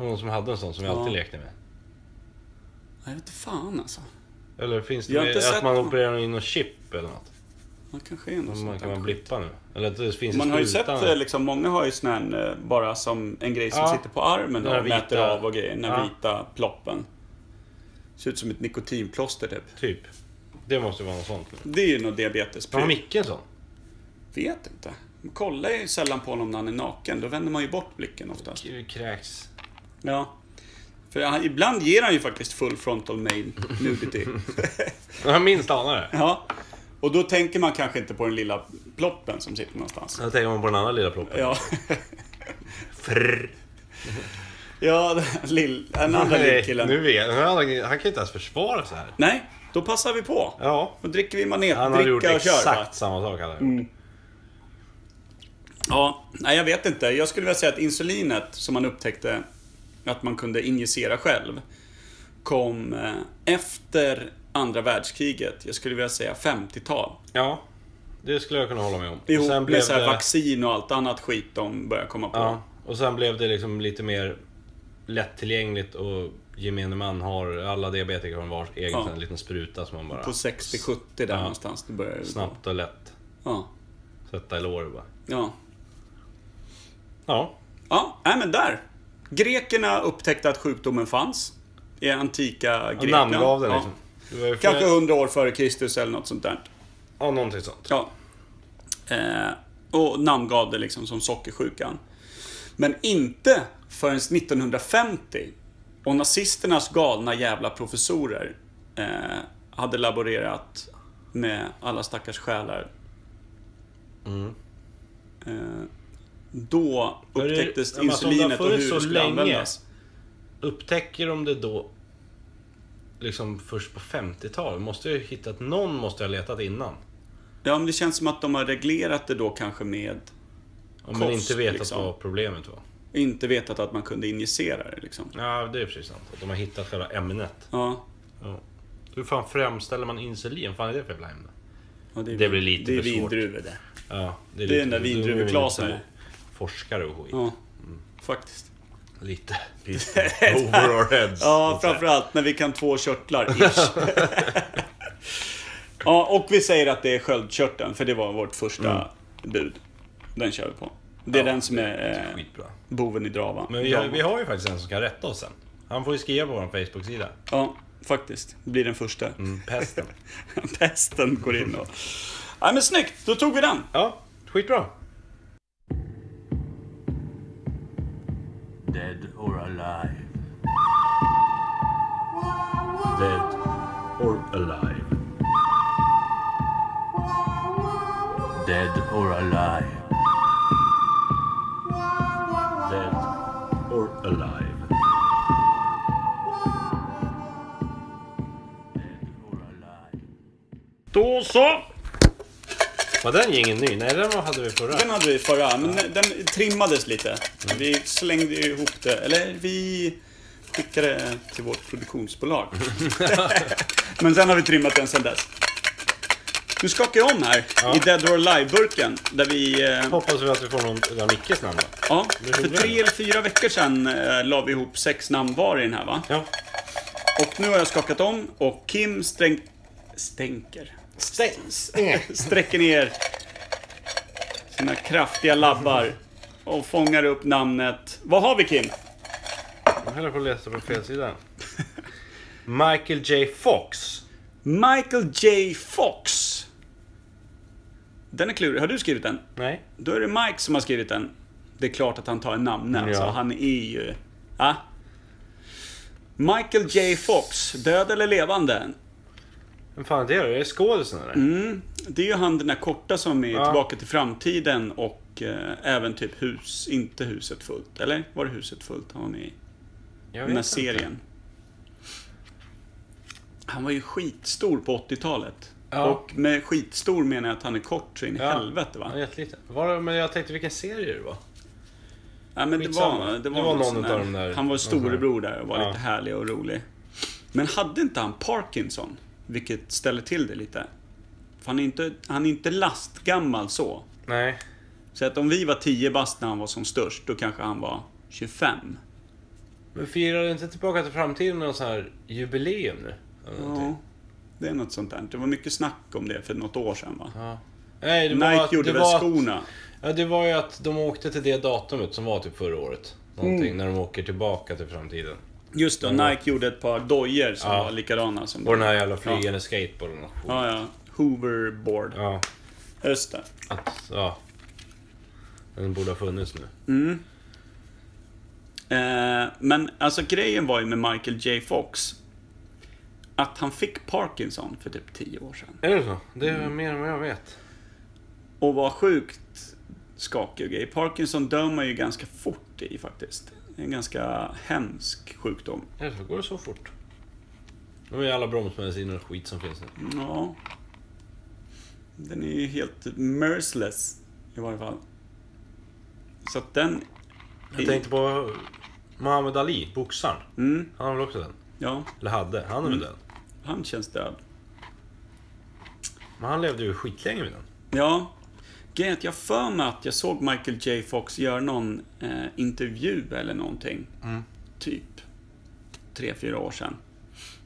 var någon som hade en sån som jag Ja. alltid lekte med. Jag vet inte fan alltså. Eller finns det Jag har inte att sett man någon. opererar in något chip eller något? Man kanske är något Som man sånt kan där man blippa nu? Eller att det finns Man har ju sett, sprutan. eh, liksom, många har ju sån här eh, bara som en grej som Ja. sitter på armen Den här och mäter vita- av och grejer. Den här Ja. vita ploppen. Ser ut som ett nikotinplåster typ. Typ. Det måste ju vara något sånt nu. Det är ju någon diabetes. Har Micke en sån? Vet inte. Man kollar ju sällan på honom när han är naken. Då vänder man ju bort blicken oftast. Gud, kräks. Ja. För han, ibland ger han ju faktiskt full frontal male nudity. Jag minst anar det. ja. Och då tänker man kanske inte på den lilla ploppen som sitter någonstans. Då tänker man på den andra lilla ploppen. Ja. Frrr. Ja, den, lill, den andra Nej, lillkillen. Nu vet jag. Han kan inte ens försvara sig här. Nej, då passar vi på. Ja. Då dricker vi Han hade gjort manetdricka och kör. va? Mm. exakt samma sak. Han hade gjort. Ja, nej jag vet inte. Jag skulle vilja säga att insulinet som man upptäckte att man kunde injicera själv kom eh, efter andra världskriget. Jag skulle vilja säga 50-tal. Ja. Det skulle jag kunna hålla med om. Och Ihop med så här vaccin och allt annat skit de började komma på. ja, och sen blev det liksom lite mer lättillgängligt och gemene man har, alla diabetiker har en var egen Ja. sån här liten spruta som man bara På 60-70 där Ja. någonstans. Det började det gå. snabbt och lätt Ja. sätta i låret bara. ja. Ja. Ja, nej men där. Grekerna upptäckte att sjukdomen fanns. I antika Han Grekland. namngav den Ja. liksom. Det var ju flera- Kanske 100 år före Kristus eller något sånt där. Ja, någonting sånt. Ja. Eh, och namngav det liksom som sockersjukan. Men inte förrän 1950. Och nazisternas galna jävla professorer eh, hade laborerat med alla stackars själar. Eh, då Mm. Men det- upptäcktes ja, men alltså, om det har insulinet och funnits hur så det skulle länge- användas. Upptäcker de det då liksom först på 50-talet? Måste ju hittat, någon måste ha letat innan. Ja, men det känns som att de har reglerat det då kanske med... Om man Kost, inte vetat liksom. vad problemet var. inte vetat att man kunde injicera det liksom. Ja, det är precis sant. Att de har hittat själva ämnet. Ja, Ja. Hur fan framställer man insulin? fan är det för jävla ämne? ja är, Det blir lite det är för svårt. vindruvor det. Ja, Det är den där vindruveklasen. lite Forskare och skit. Ja, faktiskt. Lite pissed over our heads. Ja, så att säga. framförallt när vi kan två körtlar ish. ja, och vi säger att det är sköldkörteln, för det var vårt första bud. Den kör vi på. Det är Mm. Ja, den som är eh, Skitbra. boven i dravan. Men vi har, Dravan. vi har ju faktiskt en som kan rätta oss sen. Han får ju skriva på vår Facebook-sida. Ja, faktiskt. Det blir den första. Mm, Pesten. Pesten går in och... Ja, men snyggt! Då tog vi den. Ja, skitbra. Dead or alive. Dead or alive. Dead or alive. Dead or alive. Dead or alive. Då så! Var den ingen ny? Nej, den var- hade vi förra. Den hade vi förra, men den trimmades lite. Vi slängde ju ihop det, eller vi skickade till vårt produktionsbolag. men sen har vi trimmat den sen dess. Nu skakar jag om här i Dead or Alive-burken. Där vi... Eh, Hoppas vi att vi får någon av Mickes namn då. ja, för roligt. tre eller fyra veckor sedan eh, la vi ihop sex namn var i den här va? Ja. Och nu har jag skakat om och Kim sträng... Stänker. Stängs. sträcker ner sina kraftiga labbar och fångar upp namnet. Vad har vi Kim? Jag höll på att läsa på fel sida. Michael J Fox. Michael J Fox. Den är klurig. Har du skrivit den? Nej. Då är det Mike som har skrivit den. Det är klart att han tar en namn alltså. Ja. Han är ju... Ja. Michael J Fox, död eller levande? Vem fan är det då? Är det skådisen eller? Mm. Det är ju han den där korta som är Ja. tillbaka till framtiden och eh, även typ hus, inte huset fullt. Eller var det huset fullt han var med i? Jag vet Den inte. här serien. Han var ju skitstor på 80-talet. Ja. Och med skitstor menar jag att han är kort så in i Ja. helvete va? Ja, jätteliten. Var, men jag tänkte vilken serie det var. Ja, men det Skitsamma. var, det var, Det var någon sån utav där- dem där. Han var Någon sån här. storebror där och var Ja. lite härlig och rolig. Men hade inte han Parkinson? Vilket ställer till det lite. För han är inte, han är inte lastgammal så. Nej. Så att om vi var 10 bast när han var som störst, då kanske han var 25. Men firar du inte Tillbaka till framtiden någon sån här jubileum nu? Eller någonting? Ja, Typ. det är något sånt där. Det var mycket snack om det för något år sedan va? Ja. Nej, det var, Nike att- gjorde det väl var, att- skorna? Ja, det var ju att de åkte till det datumet som var typ förra året. Någonting, Mm. när de åker tillbaka till framtiden. Just det, och Nike gjorde ett par dojor som Ja. var likadana som... Och den här jävla flygande skateboarden och skit. Ja, ja. Hooverboard. Ja, Just det. att, ja. Den borde ha funnits nu. Eh, men alltså grejen var ju med Michael J Fox att han fick Parkinson för typ 10 år sedan. Är det så? Det är Mm. mer än vad jag vet. Och var sjukt skakig och grej. Parkinson dör man ju ganska fort i faktiskt. Det är En ganska hemsk sjukdom. Är det så? Går det så fort? De är ju alla bromsmediciner och skit som finns nu. Ja. Den är ju helt merciless i varje fall. Så att den... Jag tänkte på eh, Muhammad Ali, boxaren. Mm, Han har väl också den? ja, Eller hade. Han är väl död? han känns död. Men han levde ju skitlänge med den. Ja. Grejen är att jag för mig att jag såg Michael J Fox göra någon eh, intervju eller någonting. Typ tre, fyra år sedan.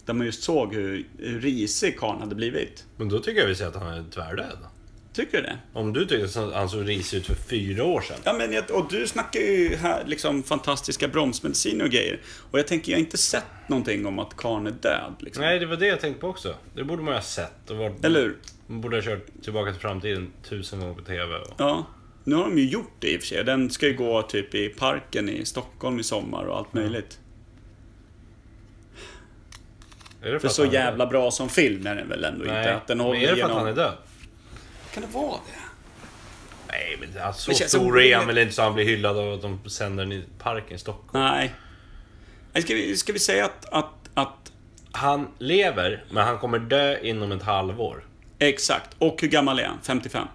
Där man just såg hur, hur risig karln hade blivit. Men då tycker jag vi säger att han är tvärdöd. Tycker du det? Om du tyckte att han såg risig ut för fyra år sedan. Ja, men jag, och du snackar ju här liksom fantastiska bromsmediciner och grejer. Och jag tänker, jag har inte sett någonting om att karln är död. Liksom. Nej, det var det jag tänkte på också. Det borde man ju ha sett. Och varit... Eller hur? Man borde ha kört Tillbaka till framtiden tusen gånger på TV. Och... Ja. Nu har de ju gjort det i och för sig. Den ska ju gå typ i parken i Stockholm i sommar och allt möjligt. Är det För att så han är död? jävla bra som film är den väl ändå inte? Nej, Att den men håller är det för igenom... att han är död? Kan det vara det? Nej, men det- alltså, Det så känns stor orimligt. är han väl inte så han blir hyllad av att de sänder den i parken i Stockholm. Nej. Nej, Ska vi, ska vi säga att, att, att... Han lever, men han kommer dö inom ett halvår. Exakt. Och hur gammal är han? 55?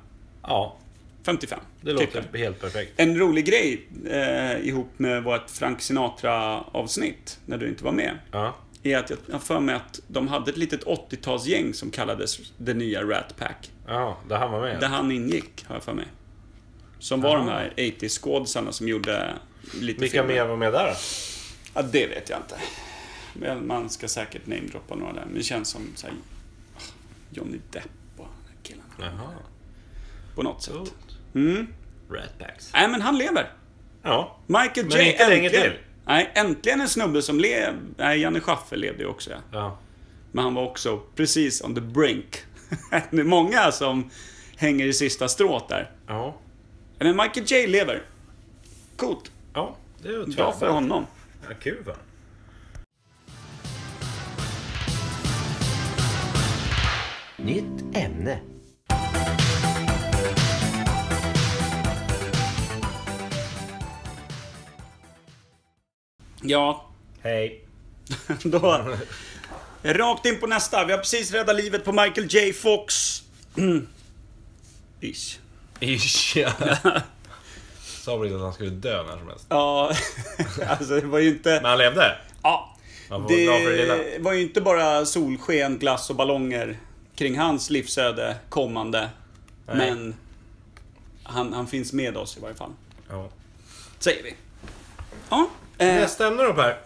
Ja. 55. Det typ. låter helt perfekt. En rolig grej eh, ihop med vårt Frank Sinatra-avsnitt, när du inte var med, Ja. är att jag har för mig att de hade ett litet 80-talsgäng som kallades det nya Rat Pack. Ja, där han var med. Där han ingick, har jag för mig. Som var de här 80-skådisarna som gjorde lite Vilka filmer. mer var med där då? Ja, det vet jag inte. Men man ska säkert namedroppa några där. Men det känns som så här, ah, Johnny Depp och de här killarna. Jaha. På något Oh. sätt. Mm. Ratpacks. Nej, men han lever. Ja. Michael Men J. inte länge äntligen. till. Nej, äntligen en snubbe som lever. Nej, Janne Schaffer levde ju också, ja. ja. Men han var också precis on the brink. det är många som hänger i sista strået där. Ja. Men Michael J. lever. Coolt. Ja, det är ju Bra för tvärbra. honom. Ja, kul va? Nytt ämne. Ja, Hej. Då, rakt in på nästa. Vi har precis räddat livet på Michael J Fox. Mm. Ish. Ish, ja. Sa Britt att han skulle dö när som helst. Ja, alltså det var ju Men inte... han levde. Ja, Man får vara glad för det det lilla. var ju inte bara solsken, glass och ballonger kring hans livsöde kommande. Men han, han finns med oss i varje fall. Ja. Säger vi. Ja. Eh, Nästa ämne då Per.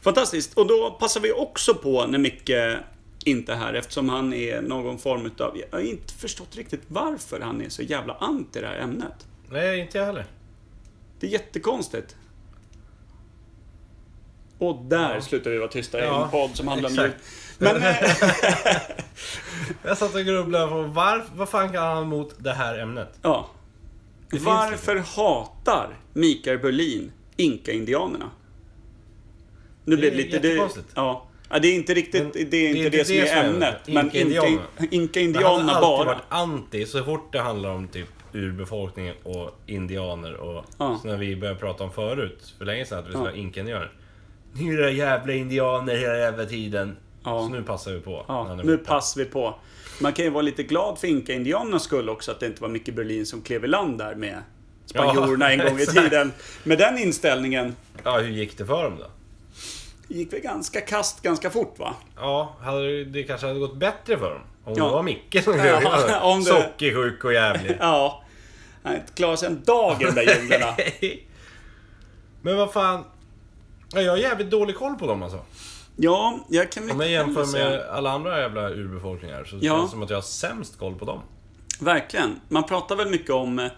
Fantastiskt. Och då passar vi också på när Micke inte är här eftersom han är någon form utav... Jag har inte förstått riktigt varför han är så jävla anti det här ämnet. Nej, inte jag heller. Det är jättekonstigt. Och där slutar vi vara tysta i Ja, en podd som handlar om djur. exakt. Men, eh, Jag satt och grubblade på varför, vad fan kan han ha emot det här ämnet? ja. finns Varför hatar Mikael Berlin Inka-indianerna? Nu blev det lite... jättekonstigt. ja. ja, det är inte riktigt Men det, är inte det, som är ämnet. Men Inka-indianerna. inte- Men han Inka-indianerna har alltid bara. varit anti så fort det handlar om typ urbefolkningen och indianer och Ja. så när vi började prata om förut, för länge sedan, att vi skulle Ja. ha inka-indianer. Ni är era jävla indianer hela jävla tiden. Ja. Så nu passar vi på. när Ja, han är nu borta. passar vi på. Man kan ju vara lite glad för Inka-indianernas skull också att det inte var Micke Berlin som klev i land där med spanjorerna Ja, en gång i exakt. tiden. Med den inställningen Ja, hur gick det för dem då? gick vi ganska kast ganska fort va? Ja, hade det- det kanske hade gått bättre för dem. Om Ja. det var Micke som Ja, gjorde det. om det- Sockersjuk och jävlig. Ja. Han inte klarat sig en dag i de där djunglerna. Men vad fan. Ja, Jag har jävligt dålig koll på dem alltså. Ja, jag kan väl Om jag inte heller jämför säga- med alla andra jävla urbefolkningar så Ja. känns det som att jag har sämst koll på dem. Verkligen. Man pratar väl mycket om eh,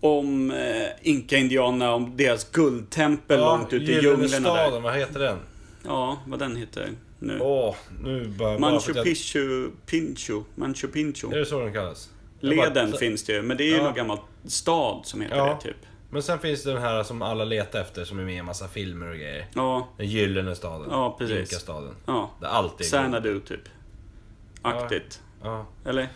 om eh, Inka-indianerna, om deras guldtempel långt ute i Gyllene djunglerna där. staden, vad heter den? Ja, vad den heter nu. Åh, nu bara... bara för Manchu att jag- Picchu, Pinchu, Manchu Pinchu. Är det så den kallas? Jag bara- Leden så- finns det ju, men det är ju Ja. någon gammal stad som heter Ja. det typ. Men sen finns det den här som alla letar efter som är med i en massa filmer och grejer. Ja, Den gyllene staden. Ja, precis. staden. ja. Där allt är guld. Xanadu typ. Aktigt. Ja. Eller?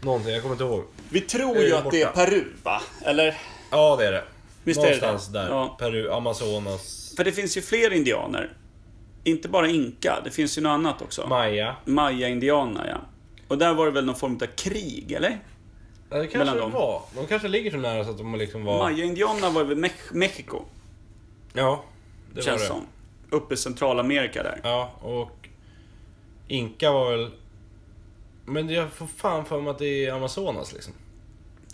Någonting, jag kommer inte ihåg. Vi tror är ju ju att det är borta. Peru va? Eller? Ja, det är det. Visst är det Någonstans det? där. Ja. Peru, Amazonas, För det finns ju fler indianer. Inte bara inka, det finns ju något annat också. Maya. Maya-indianer ja. Och där var det väl någon form av krig, eller? Ja, det Mellan kanske det dem. var. De kanske ligger så nära så att de liksom var... Maya-indianerna var väl Mex- Mexiko, Ja, det var känns det. som. Uppe i Centralamerika där. Ja, och Inka var väl... Men jag får fan för mig att det är Amazonas liksom.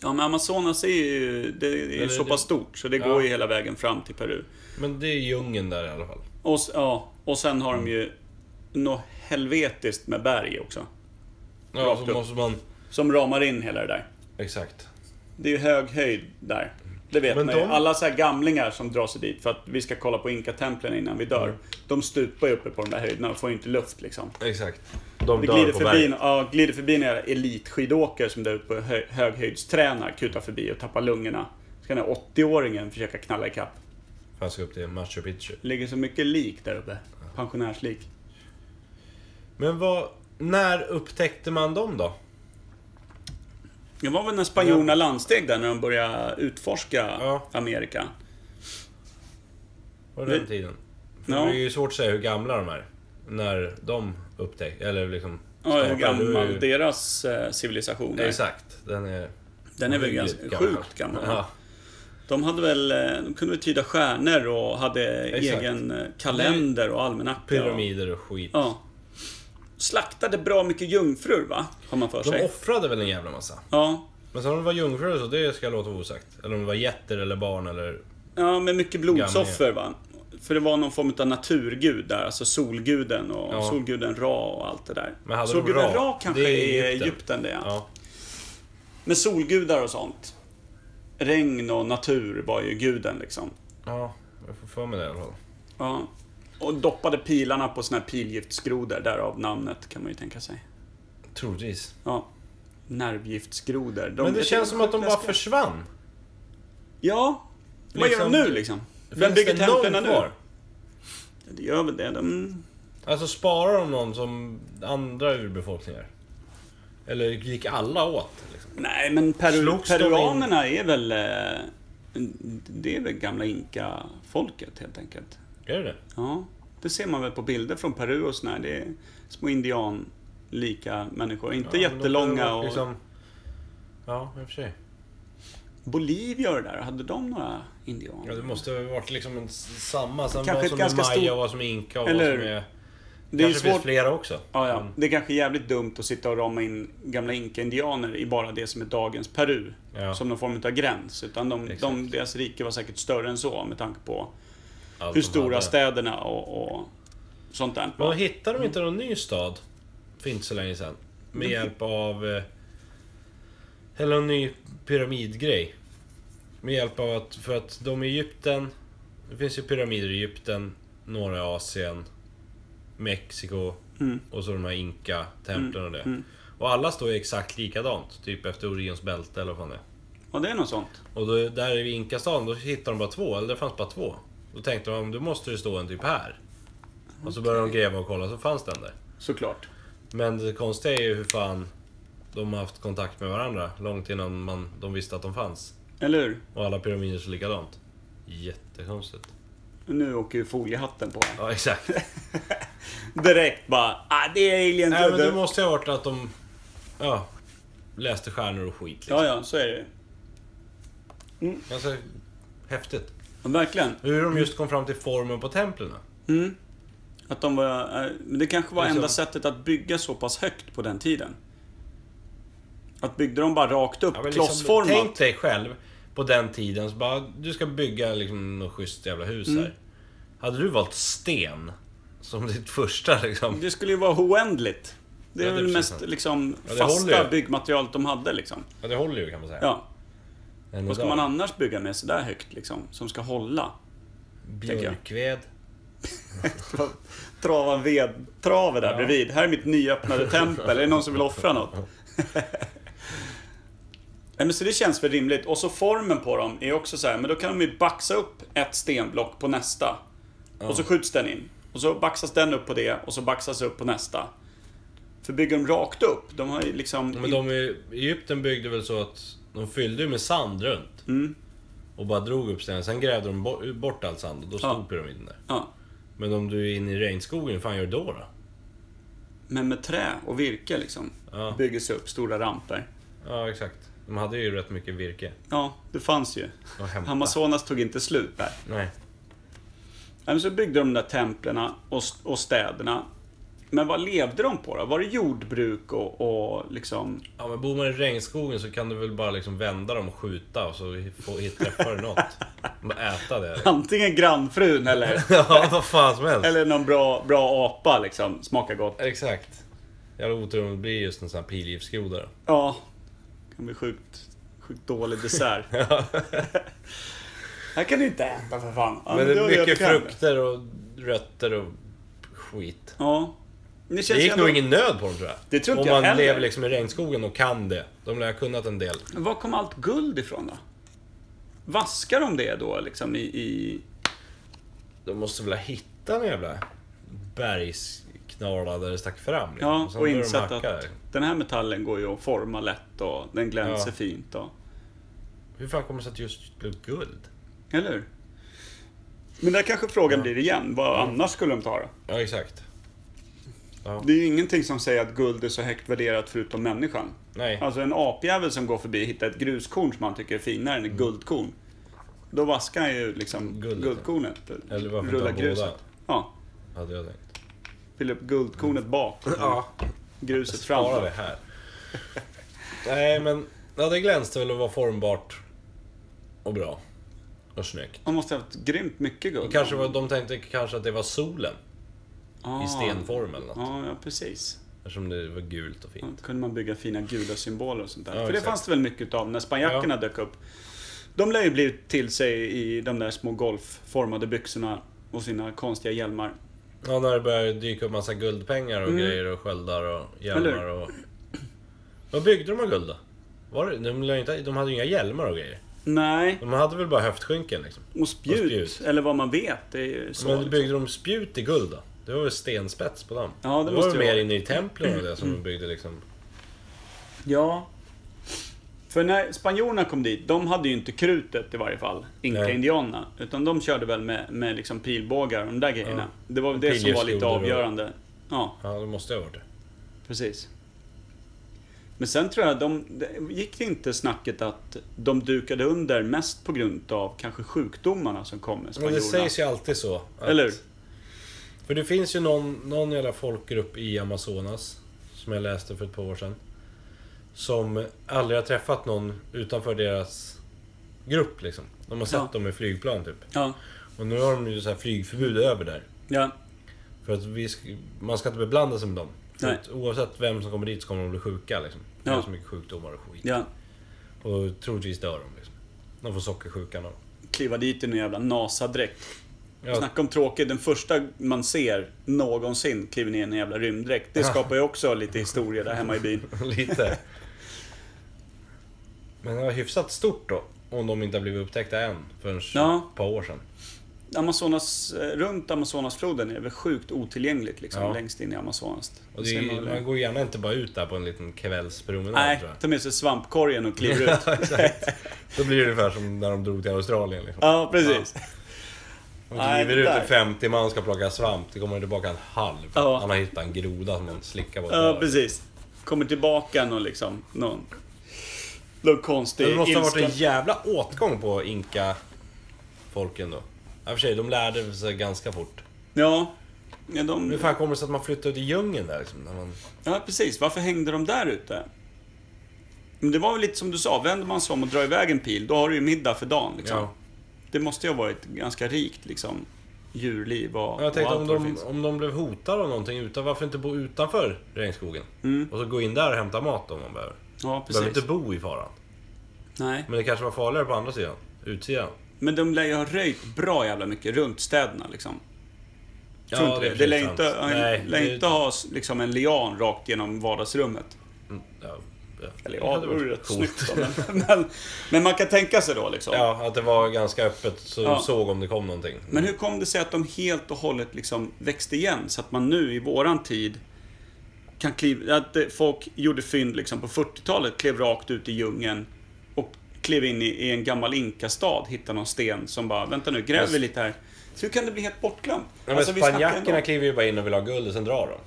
Ja, men Amazonas är ju, det är ju Eller så det- pass stort, så det Ja. går ju hela vägen fram till Peru. Men det är djungeln där i alla fall. Och, s- ja, och sen har de Mm. ju något helvetiskt med berg också. Ja, Rakt så upp. måste man... Som ramar in hela det där. Exakt. Det är ju hög höjd där. Det vet Men man ju. de- Alla så här gamlingar som drar sig dit för att vi ska kolla på Inka-templen innan vi Mm. dör. De stupar ju uppe på de där höjderna och får ju inte luft liksom. Exakt. De Det dör glider på förbi, berget. ja, glider förbi några elitskidåkare som där uppe hö, höghöjdstränar, kutar förbi och tappar lungorna. Ska den här 80-åringen försöka knalla ikapp. För jag ska upp till Machu Picchu. ligger så mycket lik där uppe. Pensionärslik. Men vad... När upptäckte man dem då? Det var väl när spanjorerna landsteg där när de började utforska Ja. Amerika. Var det Vi- den tiden? För Ja. Det är ju svårt att säga hur gamla de är. När de upptäckte... Eller liksom... Ja, hur startade. gammal Det är deras eh, civilisation ju- är. Exakt. Den är... Den är väl Hyggligt ganska sjukt gammal. Ja. De hade väl, eh, de kunde väl tyda stjärnor och hade Exakt. egen eh, kalender och almanacka. Pyramider och skit. Och, ja. Slaktade bra mycket jungfrur va? Har man för De sig. offrade väl en jävla massa. Ja. Men sen om de var jungfrur och så, det ska jag låta vara osagt. Eller om de var getter eller barn eller... ja, med mycket blodsoffer va? För det var någon form av naturgud där, alltså solguden och Ja. solguden Ra och allt det där. Men hade de solguden Ra? Ra, kanske Det är är Egypten. Egypten, det ja. Ja. Med solgudar och sånt. Regn och natur var ju guden liksom. Ja, jag får för mig det i alla fall. Ja. Och doppade pilarna på såna här pilgiftsgrodor, därav namnet kan man ju tänka sig. Troligtvis. Ja. Nervgiftsgrodor. De- Men det jag känns tycker som att de bara sjukt läskiga. försvann. Ja. Vad gör de Liksom- nu liksom? Vem Finns bygger det någon templen nu? kvar? Det gör väl det. De... Alltså sparar de någon som andra urbefolkningar? Eller gick alla åt? Liksom? Nej, men peru... Slogs de peruanerna är väl... eh, Det är väl gamla inka-folket helt enkelt. Är det det? Ja, det ser man väl på bilder från Peru och sådär. Det är små indianlika Ja, människor. Inte men de kunde jättelånga ha varit och... Liksom... Ja, i och för sig. Bolivia och det där, hade de några indianer? Ja, det måste ha varit liksom en, s- samma. Sen Kanske vad ett som är ganska maya, stort- vad som är inka och Eller- vad som är... Det är ju kanske finns svårt... flera också. Ja, ja. Men- Mm. Det är kanske jävligt dumt att sitta och rama in gamla inka-indianer i bara det som är dagens Peru. Ja. Som någon form av gräns. Utan de, de, Exakt. deras rike var säkert större än så med tanke på Allt hur de stora hade. städerna och, och sånt där Men var. hittade de inte någon ny stad för inte så länge sedan? Med hjälp av... eh, Eller en ny pyramidgrej. Med hjälp av att... För att de i Egypten... Det finns ju pyramider i Egypten, norra Asien, Mexiko Mm. och så de här Inka-templen och det. Och alla står ju exakt likadant. Typ efter Orions bälte eller vad fan det är. Ja, det är något sånt. Och då, där i Inkastaden, då hittade de bara två, eller det fanns bara två. Då tänkte de, då måste det stå en typ här. Och så började de gräva och kolla, så fanns den där. Såklart. Men det konstiga är ju hur fan de har haft kontakt med varandra långt innan man, de visste att de fanns. Eller hur? Och alla pyramider ser likadant. Jättekonstigt. Nu åker ju foliehatten på här. Ja, exakt. Direkt bara, ah, det är aliens. Nej, men det du." måste ju ha varit att de... Ja. Läste stjärnor och skit liksom. Ja, ja, så är det ju. Ganska häftigt. Ja, Verkligen. Hur de just kom fram till formen på templen. Att de var, eh, men det kanske var Liksom- enda sättet att bygga så pass högt på den tiden. Att byggde de bara rakt upp, Ja, men liksom, klossformat. Tänk dig själv på den tiden, så bara, du ska bygga liksom något schysst jävla hus Mm. här. Hade du valt sten som ditt första liksom? Det skulle ju vara oändligt. Det är Ja, det är väl det precis mest sant. liksom, Ja, det håller fasta ju. byggmaterialet de hade. Liksom. Ja, det håller ju kan man säga. Ja. Än Vad ska idag. man annars bygga med sådär högt, liksom, som ska hålla? tänker jag. Björkved. Trava en vedtrave där bredvid. Här är mitt nyöppnade tempel. Är det någon som vill offra något? Nej, men så det känns väl rimligt. Och så formen på dem är också så här, men då kan de ju baxa upp ett stenblock på nästa. Och så skjuts den in. Och så baxas den upp på det och så baxas upp på nästa. För bygger de rakt upp, de har ju liksom... Men de i Egypten byggde väl så att de fyllde ju med sand runt. Mm. Och bara drog upp stenen. Sen grävde de bo- bort all sand och då stod Ja. pyramiden där. Ja, Men om du är inne i regnskogen, hur fan gör du då? då? men med trä och virke liksom. Ja. Bygger sig upp stora ramper. Ja, exakt. De hade ju rätt mycket virke. Ja, det fanns ju. Och hämta. Amazonas tog inte slut där. Nej. Ja, men Så byggde de där templerna och, och städerna. Men vad levde de på då? Var det jordbruk och, och liksom... Ja, men bor man i regnskogen så kan du väl bara liksom vända dem och skjuta och så få träffar du något. Bara äta det. liksom. Antingen grannfrun eller, Ja, vad fan som helst. eller någon bra, bra apa liksom. Smakar gott. Exakt. Jävla otur om det blir just en sån här pilgiftsgroda då. Ja. Kan bli sjukt, sjukt dålig dessert. Här kan du inte äta för fan. Ja, Men det då är gör mycket vi det. frukter och rötter och skit. Ja. Men Det, känns Det ju gick ändå- nog ingen nöd på dem tror jag. Det tror inte Om jag man heller. lever liksom i regnskogen och kan det. De lär ha kunnat en del. Men Var kom allt guld ifrån då? Vaskar de det då liksom i... i... De måste väl ha hittat en jävla bergsknala där det stack fram. liksom. Ja, sen och började de insett hacka att där. den här metallen går ju att forma lätt och den glänser Ja. fint. Och, Hur fan kommer det sig att just blev guld? eller hur? Men där kanske frågan blir igen. Vad annars skulle de ta då? Ja, exakt. Ja. Det är ju ingenting som säger att guld är så högt värderat förutom människan. Nej. Alltså en apjävel som går förbi och hittar ett gruskorn som han tycker är finare än ett guldkorn. Då vaskar han ju liksom Mm. Guldet, guldkornet. Eller varför inte rullar ha gruset. båda? Ja, Hade jag tänkt. fyller upp guldkornet bak. Ja. Gruset Spara framför. det här. Nej men, ja det glänste väl och var formbart. Och bra. Och snyggt. Han måste ha haft grymt mycket guld. Kanske var, de tänkte kanske att det var solen ah. i stenform eller något. Ja, ja precis. Eftersom det var gult och Ja, fint. Då kunde man bygga fina gula symboler och sånt där. Ja, För det exakt. fanns det väl mycket av när spanjackerna dök upp. De lär ju bli till sig i de där små golfformade byxorna och sina konstiga hjälmar. Ja, när det började dyka upp massa guldpengar och grejer och sköldar och hjälmar Eller och... Vad byggde de av guld då? Var det, de, lär ju inte, de hade ju inga hjälmar och grejer. Nej, De hade väl bara höftskynken liksom. och spjut, Och spjut. eller vad man vet. Det är ju så. Men liksom. byggde de spjut i guld då? Det var väl stenspets på dem? Ja, det var måste väl det mer vara. Mm. inne i templen och det som de byggde liksom. Ja. För när spanjorerna kom dit, de hade ju inte krutet i varje fall, Nej. Inka-indianerna. Utan de körde väl med, med liksom pilbågar och de där grejerna. Det var väl det som var lite Pilgrimsgrodor och- avgörande. Ja, Ja, det måste ju ha varit det. precis. Men sen tror jag, de, det- gick det inte snacket att de dukade under mest på grund av kanske sjukdomarna som kom med Men det spanjorerna? sägs ju alltid så. att- Eller hur? För det finns ju någon, någon jävla folkgrupp i Amazonas, som jag läste för ett par år sedan. Som aldrig har träffat någon utanför deras grupp liksom. De har sett Ja. dem i flygplan typ. Ja. Och nu har de ju så här flygförbud över där. ja. För att vi sk- man ska inte beblanda sig med dem. För Nej. att oavsett vem som kommer dit så kommer de bli sjuka liksom. Det Ja. är så mycket sjukdomar och skit. Ja. Och troligtvis dör de liksom. De får sockersjukan och... Kliva dit i en jävla NASA-dräkt. Ja, Snacka om tråkigt. Den första man ser någonsin kliver ner i en jävla rymddräkt. Det skapar ju också lite historia där hemma i byn. lite. Men det var hyfsat stort då. Om de inte har blivit upptäckta än förrän Ja. ett par år sedan. Amazonas, eh, runt Amazonasfloden är det väl sjukt otillgängligt liksom, Ja. längst in i Amazonas. Och Det det ser är, man väl. man går gärna inte bara ut där på en liten kvällspromenad Nej, tror jag. ta med sig svampkorgen och kliver ut. Ja, exakt. Då blir det ungefär som när de drog till Australien. Liksom. Ja, precis. De Nej, kliver det ut där. i 50 man ska plocka svamp, det kommer tillbaka en halv. Ja. Han har hittat en groda som han slickar på. Ja, precis. Kommer tillbaka någon liksom, någon, någon konstig det måste ha varit ilska. en jävla åtgång på Inka-folken då. Ja, för sig, de lärde sig ganska fort. Ja, ja, de, Hur fan kommer det sig att man flyttade ut i djungeln där liksom? När man... Ja, precis. Varför hängde de där ute? Men det var väl lite som du sa, vänder man sig om och drar iväg en pil, då har du ju middag för dagen. Liksom. Ja. Det måste ju ha varit ganska rikt liksom, djurliv och, Ja, Jag tänkte och om vad det de, om de blev hotade av någonting, utan, varför inte bo utanför regnskogen? Och så gå in där och hämta mat om man behöver. Ja, Behöver Mm. precis. inte bo i faran. Nej. Men det kanske var farligare på andra sidan, utsidan. Men de lär ju ha röjt bra jävla mycket runt städerna. Liksom. Ja, Tror inte det? Det lär inte, Nej, lär det- inte ha s- liksom, en lian rakt genom vardagsrummet. Ja, ja. Eller Det ja, hade det vore varit rätt coolt. snyggt. då, Men, men, men man kan tänka sig då liksom. Ja, att det var ganska öppet så du Ja. såg om det kom någonting. Men hur kom det sig att de helt och hållet liksom växte igen så att man nu i våran tid kan kliva, att eh, folk gjorde fynd liksom på 40-talet, klev rakt ut i djungeln och klev in i, i en gammal inkastad, hittade någon sten som bara, vänta nu, gräver vi Men- lite här. Så hur kan det bli helt bortglömt? Ja, men Alltså, vi snackar spanjackerna ändå- kliver ju bara in och vill ha guld och sen drar de.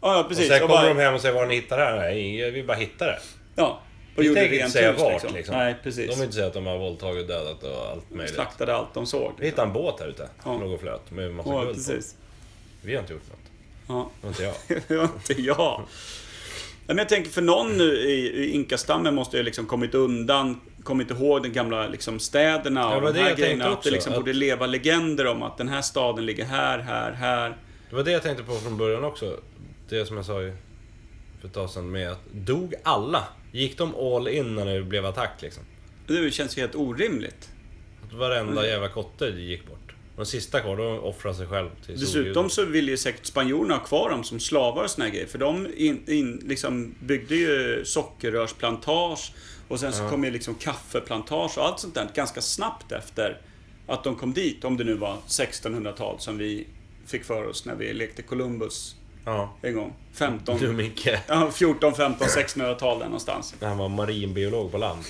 Ja, ja, precis. och sen Och kommer bara- de hem och säger var har ni hittar det här? Nej, vi bara hittar det. Ja, och Vi gjorde tänker inte rent säga hus vart liksom. liksom. Nej, De precis. vill inte säga att de har våldtagit och dödat och allt möjligt. Slaktade allt de såg. Vi hittade en båt här ute. Ja. Låg och flöt med massa Ja, guld precis. på. Vi har inte gjort något. Ja. Det var inte jag. det var inte jag. Nej, men jag tänker för någon nu i, i inkastammen måste ju liksom kommit undan, kommit ihåg de gamla liksom städerna och Ja, det var de det här jag tänkte grejerna. Att det också, liksom att- borde leva legender om att den här staden ligger här, här, här. Det var det jag tänkte på från början också. Det som jag sa ju för ett tag sedan med att dog alla? Gick de all in när det blev attack liksom? Det känns ju helt orimligt. Att Mm. varenda jävla kotte gick bort. De sista kvar, de offrade sig själv till Dessutom solguden. så ville ju säkert spanjorerna ha kvar dem som slavar och såna här grejer. För de in, in, liksom byggde ju sockerrörsplantage och sen så kom ju liksom kaffeplantage och allt sånt där ganska snabbt efter att de kom dit. Om det nu var 1600-tal som vi fick för oss när vi lekte Columbus Ja. en gång. 15... Du Micke. Ja, 14, 15, 1600-tal där någonstans. När han var marinbiolog på land.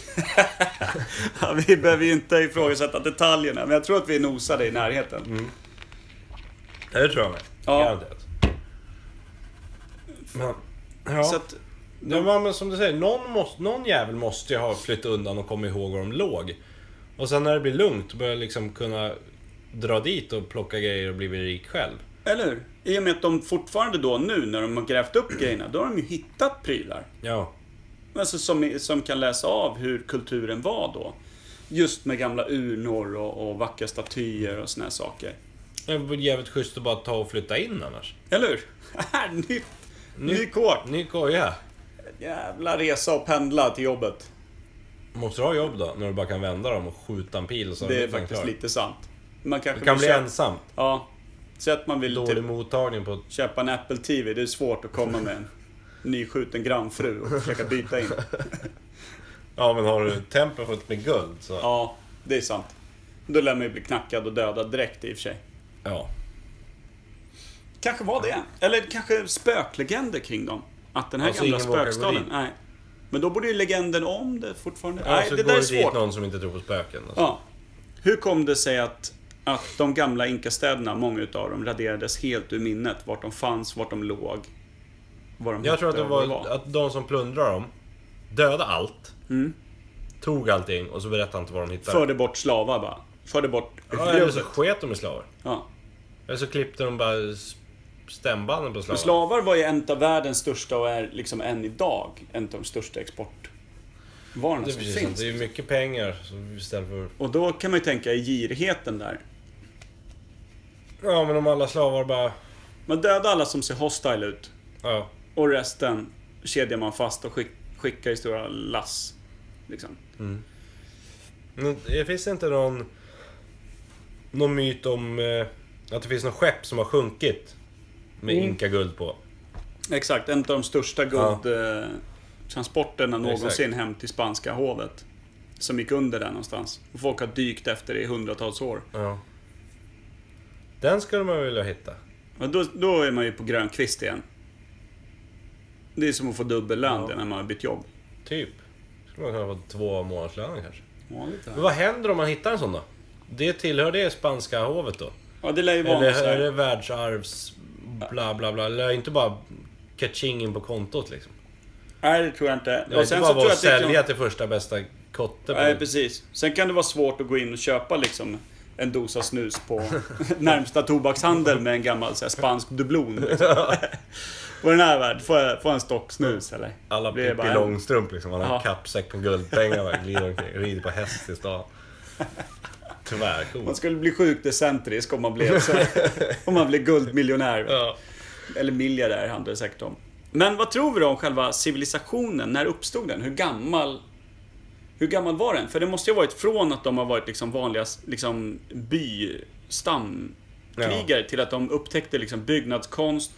Ja, vi behöver ju inte ifrågasätta detaljerna, men jag tror att vi nosade i närheten. Ja, Det tror jag med. Ja. Garanterat. Men, ja. Så att, Ja, men, men som du säger, någon, måste, någon jävel måste ju ha flytt undan och kommit ihåg var de låg. Och sen när det blir lugnt börjar jag liksom kunna dra dit och plocka grejer och bli rik själv. eller hur? I och med att de fortfarande då nu när de har grävt upp grejerna, då har de ju hittat prylar. Ja. Alltså som, som kan läsa av hur kulturen var då. Just med gamla urnor och, och vackra statyer och såna här saker. Det vore jävligt schysst att bara ta och flytta in annars. Eller hur? Här, nytt! Mm. Ny kåk! Ny koja. Jävla resa och pendla till jobbet. Måste du ha jobb då? När du bara kan vända dem och skjuta en pil så Det är blir man faktiskt klar. lite sant. Man kanske Du kan vill bli köpa- ensam. Ja. Så att man vill Dålig typ mottagning på... köpa en Apple TV, det är svårt att komma med en nyskjuten grannfru och försöka byta in. Ja, men har du tempel fullt med guld så... Ja. Ja, det är sant. Då lär man ju bli knackad och dödad direkt i och för sig. ja. Kanske var det. Eller kanske spöklegender kring dem. Att den här Alltså, gamla ingen vågar gå spökstaden. dit. Nej. Men då borde ju legenden om det fortfarande... Nej, så det går där är dit svårt. någon som inte tror på spöken. Alltså. Ja. Hur kom det sig att, att de gamla inkastäderna, många utav dem, raderades helt ur minnet? Vart de fanns, vart de låg, vad de Jag tror att hette det och vad var att de som plundrade dem dödade allt. Mm. Tog allting och så berättade inte vad de hittade. Förde bort slavar bara. Förde bort... ja, eller så sket de i slavar. Ja. Eller så klippte de bara s- stämbanden på För slavar. slavar var ju en av världens största och är liksom än idag en av de största exportvarorna det, är som precis sant. finns. det är ju mycket pengar så istället för... Och då kan man ju tänka i girigheten där. Ja, men om alla slavar bara... Man dödar alla som ser hostile ut Ja. och resten kedjar man fast och skick, skickar i stora lass. Liksom. Men det finns det inte någon... Någon myt om eh, att det finns något skepp som har sjunkit. Med Mm. inkaguld på. Exakt, en av de största guldtransporterna någonsin Exakt. hem till spanska hovet. Som gick under där någonstans. Och folk har dykt efter det i hundratals år. Ja. Den skulle man vilja hitta. Och då, då är man ju på grön kvist igen. Det är som att få dubbel lön det när man har bytt jobb. Typ. Skulle man kunna få två månadslöner kanske. Ja, lite. Men vad händer om man hittar en sån då? Det tillhör det spanska hovet då? Ja, det lär ju vara något Eller så är det här. världsarvs... Bla bla bla. Eller inte bara catchingen på kontot liksom. Nej, det tror jag inte. Det är inte bara tror vara att det kan- sälja till första bästa kotte. Nej, precis. Sen kan det vara svårt att gå in och köpa liksom en dosa snus på närmsta tobakshandel med en gammal så här, spansk dublon. Liksom. på den här världen, får jag, får jag en stock snus eller? Alla Blir det bara Pippi en? Långstrump liksom. Han har en Ja. kappsäck med guldpengar och glider omkring. Rider på häst i stan. Tyvärr, Man coolt. skulle bli sjukt excentrisk om man blev så. om man blev guldmiljonär. Ja. Eller miljardär handlar det säkert om. Men vad tror vi då om själva civilisationen? När uppstod den? Hur gammal Hur gammal var den? För det måste ju ha varit från att de har varit liksom vanliga liksom bystamkrigare till att de upptäckte liksom byggnadskonst,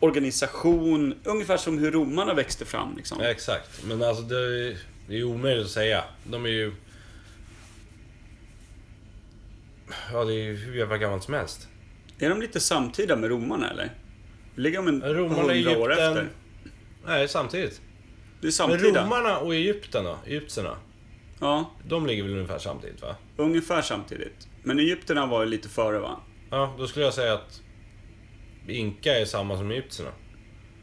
organisation, ungefär som hur romarna växte fram. Liksom. Ja, exakt. Men alltså det är, det är omöjligt att säga. De är ju... Ja, det är ju hur jävla gammalt som helst. Är de lite samtida med romarna eller? Ligger de en Romarna, hundra år Egypten. efter? Nej, samtidigt. Det är Men samtida. romarna och Egypten då? Egyptierna? Ja, De ligger väl ungefär samtidigt va? ungefär samtidigt. Men egyptierna var ju lite före va? Ja, då skulle jag säga att Inka är samma som egyptierna.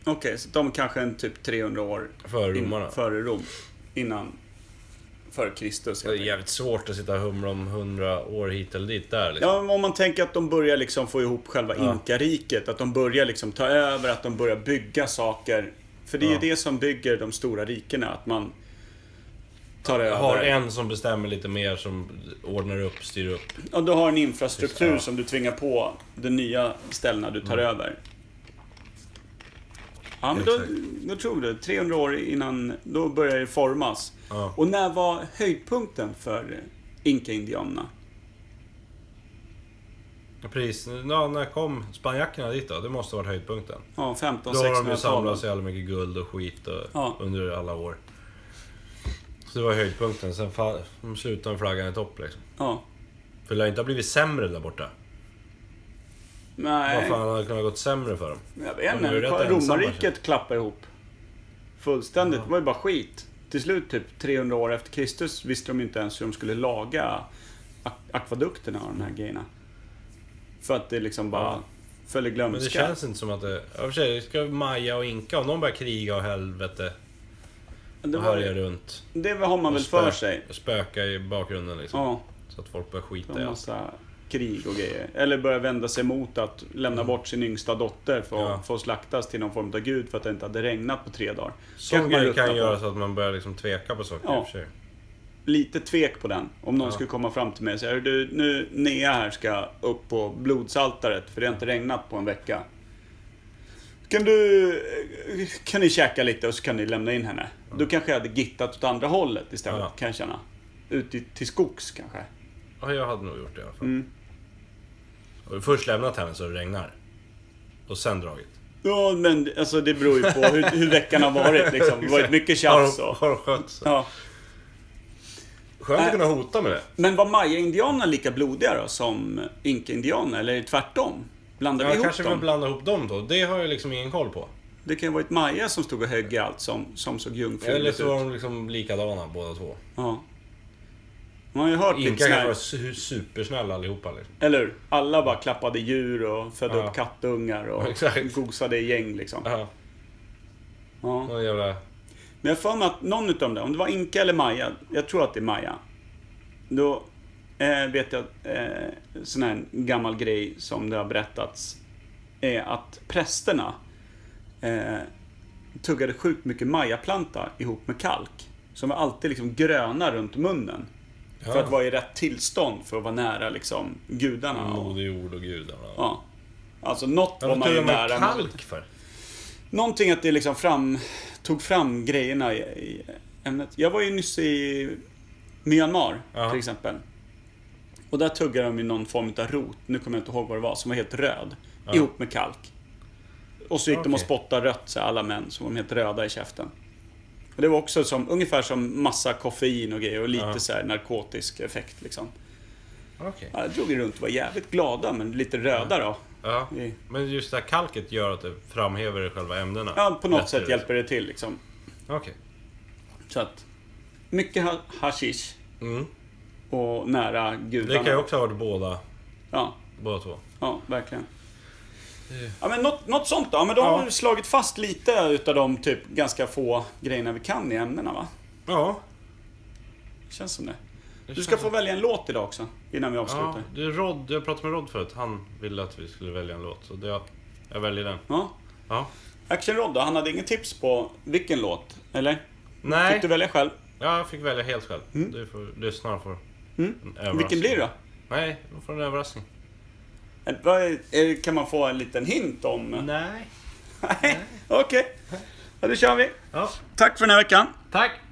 Okej, så de kanske är en typ 300 år Före romarna. före Rom. Innan... Före Kristus. Det är helt enkelt. jävligt svårt att sitta och humra om hundra år hit eller dit där liksom. Ja, men om man tänker att de börjar liksom få ihop själva inkariket. Att de börjar liksom ta över, att de börjar bygga saker. För det är Ja. ju det som bygger de stora rikena. Att man tar över. Har en som bestämmer lite mer, som ordnar upp, styr upp. Ja, du har en infrastruktur Ja. som du tvingar på de nya ställena du Mm. tar över. Ja, men då, Exakt. då tror du 300 år innan, då börjar det formas. Ja. Och när var höjdpunkten för Inka-indianerna? Precis, ja, när kom spanjackerna dit då? Det måste ha varit höjdpunkten. Ja, Då har de ju samlat 1500-1600-talet. så jävla mycket guld och skit och, Ja. under alla år. Så det var höjdpunkten. Sen fa- de slutade med flaggan i topp liksom. Ja. För det lär inte ha blivit sämre där borta. Vad Nej, fan hade kunnat gått sämre för dem? jag vet de är ju inte. rätt ensamma, Romarriket klappade ihop. Fullständigt. Det var ju bara skit. Till slut, typ 300 år efter Kristus, visste de inte ens hur de skulle laga ak- akvedukterna och de här grejerna. För att det liksom bara föll i Men det glömska. känns inte som att det... I och för sig, ska Maja och Inka, om de börjar kriga och helvete det, och härja var, runt. det har man väl och spö- för sig. och Spöka i bakgrunden liksom. Ja, Så att folk börjar det skita var i en allt. massa krig och grejer. Eller börja vända sig mot att lämna bort sin yngsta dotter för att Mm. Ja. få slaktas till någon form av gud för att det inte hade regnat på tre dagar. Sånt Kanske man kan, ruttnar kan på. göra så att man börjar liksom tveka på saker Ja. i och för sig. lite tvek på den. Om någon skulle komma fram till mig och säga "Hör du, nu Nea här ska upp på blodsaltaret för det har inte regnat på en vecka. Kan du, kan ni käka lite och så kan ni lämna in henne? Då kanske jag hade gittat åt andra hållet istället, Ja. kan jag känna. Ut i, till skogs kanske. Ja, jag hade nog gjort det i alla fall. Mm. Och först lämnat henne så det regnar. Och sen dragit. Ja, men alltså det beror ju på hur, hur veckan har varit liksom. Det har varit mycket tjafs Har de, och... har de skött sig? Ja. Skönt att kunna hota med det. Men var maya-indianerna lika blodiga då som inka-indianer? Eller är det tvärtom? Blandar vi Jag ihop kanske dem? vill blanda ihop dem då. Det har jag liksom ingen koll på. Det kan ju ha varit Maja som stod och högg i allt som, som såg Eller jungfruligt så var ut. de liksom likadana båda två. Ja. Man har ju hört lite Inka sån kanske här, var su- supersnälla allihopa liksom. eller hur? Alla bara klappade djur och födde Ja. upp kattungar och Exakt. gosade i gäng liksom. Ja, Ja. någon jävla... Men jag har för mig att någon utav dem, där, om det var Inka eller Maja, jag tror att det är Maja. Då eh, vet jag eh, sån här gammal grej som det har berättats är att prästerna eh, tuggade sjukt mycket majaplanta ihop med kalk. Som var alltid liksom gröna runt munnen. För Ja. att vara i rätt tillstånd för att vara nära liksom gudarna. Och, Moder jord och gudarna. ja. Alltså något var Varför man ju tog man nära. kalk för? Någonting att det liksom fram, tog fram grejerna i, i ämnet. Jag var ju nyss i Myanmar Ja. till exempel. Och där tuggade de ju någon form av rot, nu kommer jag inte ihåg vad det var, som var helt röd. Ihop med kalk. Och så gick de och Okej. spottade rött, så här, alla män, så var de helt röda i käften. Och det var också som, ungefär som massa koffein och grejer och lite så här narkotisk effekt liksom. Okej. Ja, Jag drog ju runt och var jävligt glada, men lite röda då. Ja. Det- Men just det här kalket gör att det framhäver själva ämnena. Ja, på något Lättare. sätt hjälper det till liksom. Okej. Så att, mycket ha- hashish Mm. och nära gudarna. Det kan ju också ha varit båda, Ja, båda två. ja verkligen. Ja, men något, något sånt då. Ja, men då har Ja. vi slagit fast lite utav de typ ganska få grejerna vi kan i ämnena va? Ja. Känns som det. Du känns ska få som- välja en låt idag också, innan vi ja avslutar. det är Rod, jag pratade med Rod förut. Han ville att vi skulle välja en låt. Så det, jag väljer den. Ja. Ja. Action Rod då, han hade ingen tips på vilken låt, eller? Nej, Fick du välja själv? ja, jag fick välja helt själv. Du får, lyssnarna får en överraskning. Vilken blir det då? Nej, de får en överraskning. Eller vad är- är- Kan man få en liten hint om? Nej. Nej. Okej. Ja, då kör vi. Ja, Tack för den här veckan. tack!